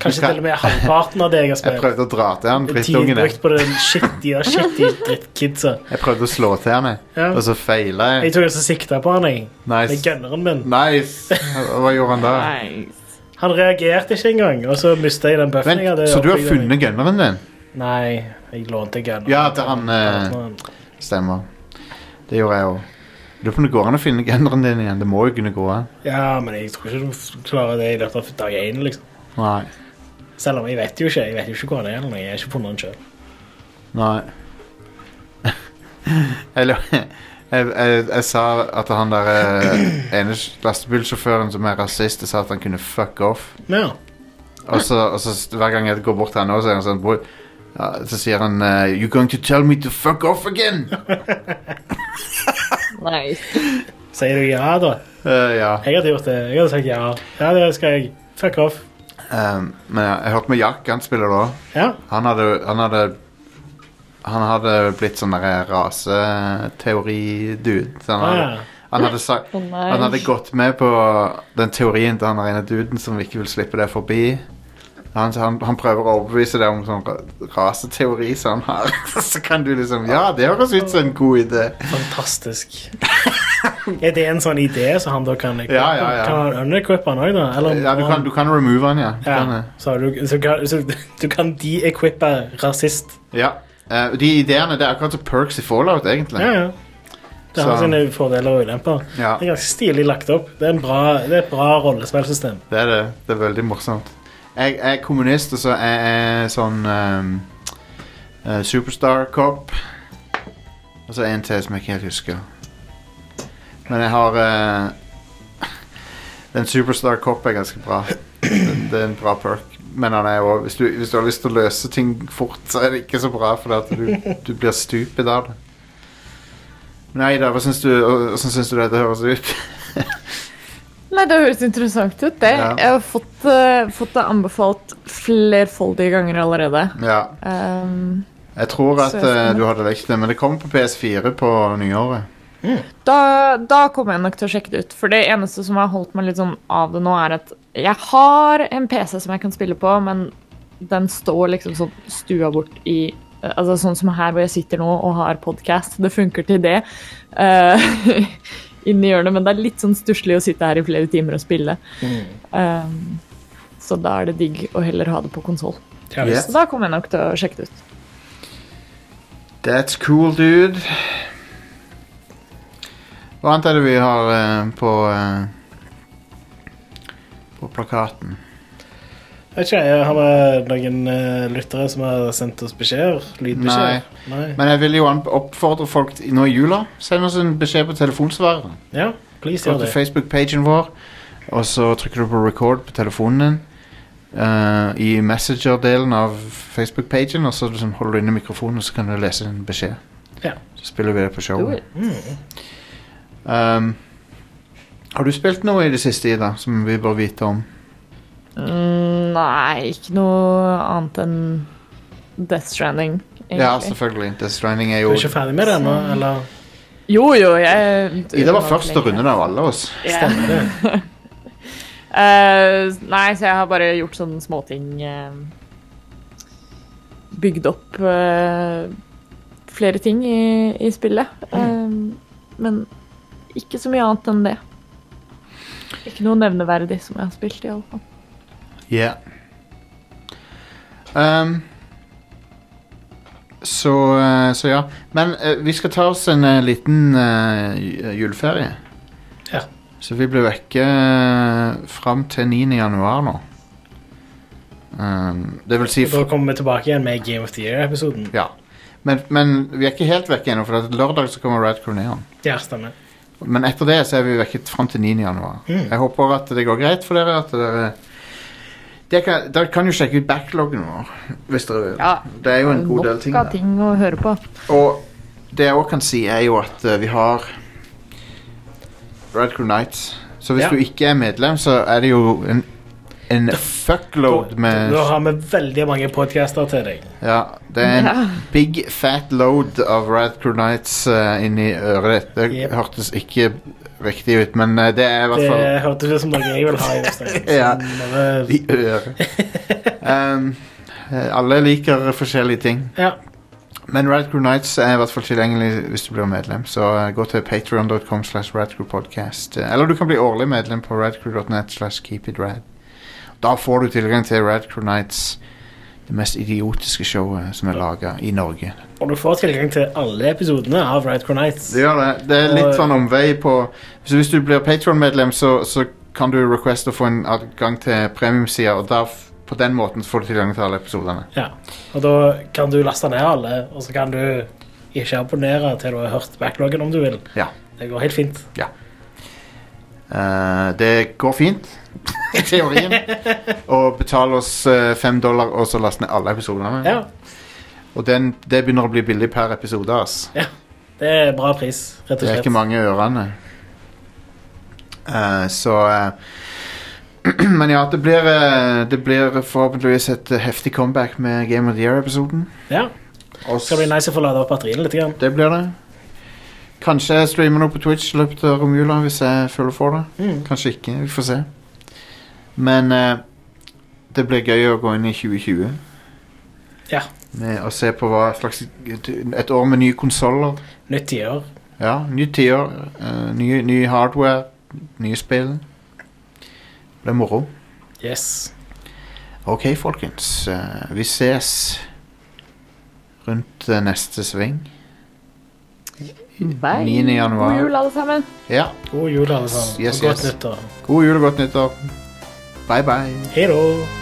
Speaker 2: Kanskje til og med halvparten av det jeg har
Speaker 1: Jeg
Speaker 2: spilt.
Speaker 1: prøvde å dra til han
Speaker 2: Tid
Speaker 1: drittungene.
Speaker 2: brukt på den shitty og shitty drittkidsa.
Speaker 1: Jeg prøvde å slå til han, jeg.
Speaker 2: Ja.
Speaker 1: og så feila
Speaker 2: Jeg
Speaker 1: jeg.
Speaker 2: tok altså sikta på han, jeg. Med
Speaker 1: Nice.
Speaker 2: gunneren min.
Speaker 1: nice. Hva gjorde han da?
Speaker 3: Nice.
Speaker 2: Han reagerte ikke engang, og så mista jeg den buffen
Speaker 1: Vent,
Speaker 2: jeg hadde.
Speaker 1: så du har
Speaker 2: oppbygd av meg.
Speaker 1: funnet gunneren din?
Speaker 2: Nei, jeg lånte gunneren.
Speaker 1: Ja, til han, eh, Stemmer. Det gjorde jeg òg. Lurer på om det går an å finne gunneren din igjen. Det må jo kunne gå an.
Speaker 2: Ja, men jeg tror ikke du klarer det i løpet av dag én, liksom.
Speaker 1: Nei.
Speaker 2: Selv om jeg vet jo ikke jeg vet jo ikke hvor han er. eller noe, Jeg har ikke funnet han sjøl.
Speaker 1: Nei. Eller jeg, jeg, jeg sa at han der eh, ene lastebilsjåføren som er rasist, sa at han kunne fuck off.
Speaker 2: Ja.
Speaker 1: Og så, og så s- hver gang jeg går bort til han nå, så er han sånn "Bro," ja, Så sier han eh, You're going to tell me to fuck off again?
Speaker 3: nice.
Speaker 2: Sier du ja, da?
Speaker 1: Eh, ja.
Speaker 2: Jeg hadde gjort det. Jeg hadde sagt ja. Ja, det skal jeg. Fuck off.
Speaker 1: Um, men jeg, jeg hørte med Jack, han spiller da.
Speaker 2: Ja.
Speaker 1: Han hadde Han hadde, han hadde blitt sånn derre raseteori-dude. Så han
Speaker 2: Ah,
Speaker 1: hadde,
Speaker 2: ja.
Speaker 1: Han hadde, sagt,
Speaker 3: Å, nei.
Speaker 1: han hadde gått med på den teorien til han ene duden som ikke vil slippe deg forbi. Han, han, han prøver å overbevise deg om sånn ra- raseteori som han har. Så kan du liksom Ja, det høres ut som en god idé.
Speaker 2: Fantastisk. Er det en sånn idé som han da kan equippe?
Speaker 1: Ja, ja, ja.
Speaker 2: Kan han underequippe han òg, da? Eller,
Speaker 1: Ja, du kan, du kan remove han, ja. Du Kan, eh,
Speaker 2: ja.
Speaker 1: det.
Speaker 2: Så, du, så, kan, så du kan de-equippe rasist.
Speaker 1: ja. Eh, de ideene Det er akkurat som perks i Fallout, egentlig.
Speaker 2: Ja, ja. Det har
Speaker 1: Så-
Speaker 2: sine fordeler og ulemper.
Speaker 1: Ja.
Speaker 2: Det er ganske stilig lagt opp. Det er, en bra, det er et bra rollespillsystem.
Speaker 1: Det er det. Det er veldig morsomt. Jeg, jeg er kommunist, og så er jeg sånn ehm, eh, Superstar cop. Og så en til som jeg ikke helt husker. Men jeg har eh, Den Superstar cop er ganske bra. Det, det er en bra perk. Men han er også, hvis, du, hvis du har lyst til å løse ting fort, så er det ikke så bra, for at du, du blir stupid av det. Nei da, hva syns du, hvordan syns du dette høres ut?
Speaker 3: Nei, det høres interessant ut, det.
Speaker 1: Ja.
Speaker 3: Jeg har fått, eh, fått det anbefalt flerfoldige ganger allerede.
Speaker 1: ja.
Speaker 3: Ehm,
Speaker 1: Jeg tror at
Speaker 3: Så jeg
Speaker 1: eh,
Speaker 3: stemmer.
Speaker 1: du hadde lekt det, men det kommer på PS4 på nyåret.
Speaker 3: da, da kommer jeg nok til å sjekke det ut. For det eneste som har holdt meg litt sånn av det nå, er at jeg har en PC som jeg kan spille på, men den står liksom sånn stua bort i altså Sånn som her hvor jeg sitter nå og har podkast. Det funker til det. eh, inni hjørnet, men det er litt sånn stusslig å sitte her i flere timer og spille. Eh, så da er det digg å heller ha det på konsoll.
Speaker 2: Ja,
Speaker 1: Ja.
Speaker 3: Så da kommer jeg nok til å sjekke det ut.
Speaker 1: That's cool, dude. Hva annet er det vi har eh, på eh, På plakaten?
Speaker 2: Jeg vet ikke, jeg har det noen eh, lyttere som har sendt oss beskjeder. Lydbeskjeder. Nei.
Speaker 1: Men jeg vil jo anb- oppfordre folk til- nå i jula. Send oss en beskjed på telefonsvareren.
Speaker 2: Ja, please
Speaker 1: Gå
Speaker 2: gjør
Speaker 1: til
Speaker 2: det.
Speaker 1: Facebook-pagen vår, og så trykker du på record på telefonen din. eh, I Messenger-delen av Facebook-pagen, og så liksom holder du inne mikrofonen, og så kan du lese en beskjed.
Speaker 2: Ja.
Speaker 1: Så spiller vi det på
Speaker 3: Do
Speaker 1: showet.
Speaker 3: it.
Speaker 1: Um, har du spilt noe i det siste, Ida, som vi bør vite om?
Speaker 3: Mm, nei, ikke noe annet enn Death Stranding, egentlig.
Speaker 1: Ja, altså. selvfølgelig. Death Stranding er
Speaker 2: Du
Speaker 1: jo
Speaker 2: er ikke ferdig med det ennå, eller?
Speaker 3: Jo, jo, jeg
Speaker 1: Ida var første runden av alle oss.
Speaker 3: Stemmer det. Eh, nei, så jeg har bare gjort sånne småting eh, Bygd opp eh, flere ting i, i spillet.
Speaker 1: Mm.
Speaker 3: Eh, men ikke så mye annet enn det. Ikke noe nevneverdig som jeg har spilt, i alle fall.
Speaker 1: Yeah. Um, så, eh, så ja. Men eh, vi skal ta oss en eh, liten eh, ju- juleferie.
Speaker 2: Ja.
Speaker 1: Så vi blir vekke uh, fram til 9. januar nå. Um, det vil si
Speaker 2: Og Da kommer vi tilbake igjen med Game of the Year-episoden.
Speaker 1: Ja. Men, men vi er ikke helt vekke ennå, for at lørdag så kommer Rad Corneon.
Speaker 2: Ja, stemmer.
Speaker 1: Men etter det så er vi vekket fram til 9. januar.
Speaker 2: Mm.
Speaker 1: Jeg håper at det går greit for dere. At dere dere kan, dere kan jo sjekke ut backloggen vår. Hvis dere vil.
Speaker 3: Ja.
Speaker 1: Det er jo en god del ting
Speaker 3: Nok av
Speaker 1: der.
Speaker 3: ting å høre på.
Speaker 1: Og det jeg òg kan si, er jo at eh, vi har Red Crew Nights. Så hvis
Speaker 2: Ja.
Speaker 1: du ikke er medlem, så er det jo en, en fuckload med
Speaker 2: Da har vi veldig mange podcaster til deg.
Speaker 1: Ja, det er en
Speaker 3: Ja.
Speaker 1: big fat load av Radcrew Nights eh, inni øret ditt. Det
Speaker 2: Yep.
Speaker 1: hørtes ikke riktig ut, men eh, det er i hvert
Speaker 2: Det
Speaker 1: fall
Speaker 2: hørtes ut som noe jeg vil ha. i Jostein.
Speaker 1: Ja.
Speaker 2: Men, eh,
Speaker 1: i øret. um, eh, alle liker forskjellige ting.
Speaker 2: Ja.
Speaker 1: Men Radcrew Nights er i hvert fall tilgjengelig hvis du blir medlem. Så eh, gå til patreon.com slash radcrewpodcast. Eh, Eller du kan bli årlig medlem på radcrew.net slash keepitrad. Da får du tilgang til Radcrew Nights, det mest idiotiske showet som er laga i Norge.
Speaker 2: Og du får tilgang til alle episodene av Radcore Nights.
Speaker 1: Det gjør det. Det er
Speaker 2: Og-
Speaker 1: litt sånn omvei på Så hvis du blir Patron-medlem, så, så kan du requeste å få en adgang til premiumsida, og da f- på den måten så får du tilgang til alle episodene.
Speaker 2: Ja. Og da kan du laste ned alle, og så kan du ikke abonnere til du har hørt backloggen om du vil.
Speaker 1: Ja.
Speaker 2: Det går helt fint.
Speaker 1: Eh, det går fint, i teorien. og betal oss eh, fem dollar, og så last ned alle episodene.
Speaker 2: Ja,
Speaker 1: Og den, det begynner å bli billig per episode. ass.
Speaker 2: Det er bra pris, rett og
Speaker 1: Det er
Speaker 2: slett.
Speaker 1: ikke mange ørene. Eh, så eh, Men ja, det blir, eh, det blir forhåpentligvis et eh, heftig comeback med Game of the Year-episoden.
Speaker 2: Ja,
Speaker 1: Og
Speaker 2: Skal bli nice å få lada opp batteriene litt. Grann.
Speaker 1: Det blir det. Kanskje jeg streamer noe på Twitch i løpet av romjula hvis jeg føler for det.
Speaker 2: Mm.
Speaker 1: Kanskje ikke. Vi får se. Men eh, det blir gøy å gå inn i 2020
Speaker 2: Ja.
Speaker 1: med å se på hva slags Et år med nye konsoller.
Speaker 2: Nytt tiår.
Speaker 1: Ja, nye tider. eh, nye, ny hardware. Nye spill. Det blir moro.
Speaker 2: Yes.
Speaker 1: OK, folkens. eh, vi ses rundt eh, neste sving.
Speaker 3: Bye.
Speaker 1: 9. januar.
Speaker 3: God jul, alle sammen.
Speaker 1: Ja.
Speaker 2: God jul, alle sammen.
Speaker 1: Yes,
Speaker 2: og godt
Speaker 1: yes.
Speaker 2: nyttår.
Speaker 1: God jul og godt nyttår. Bye, bye.
Speaker 2: Hei da.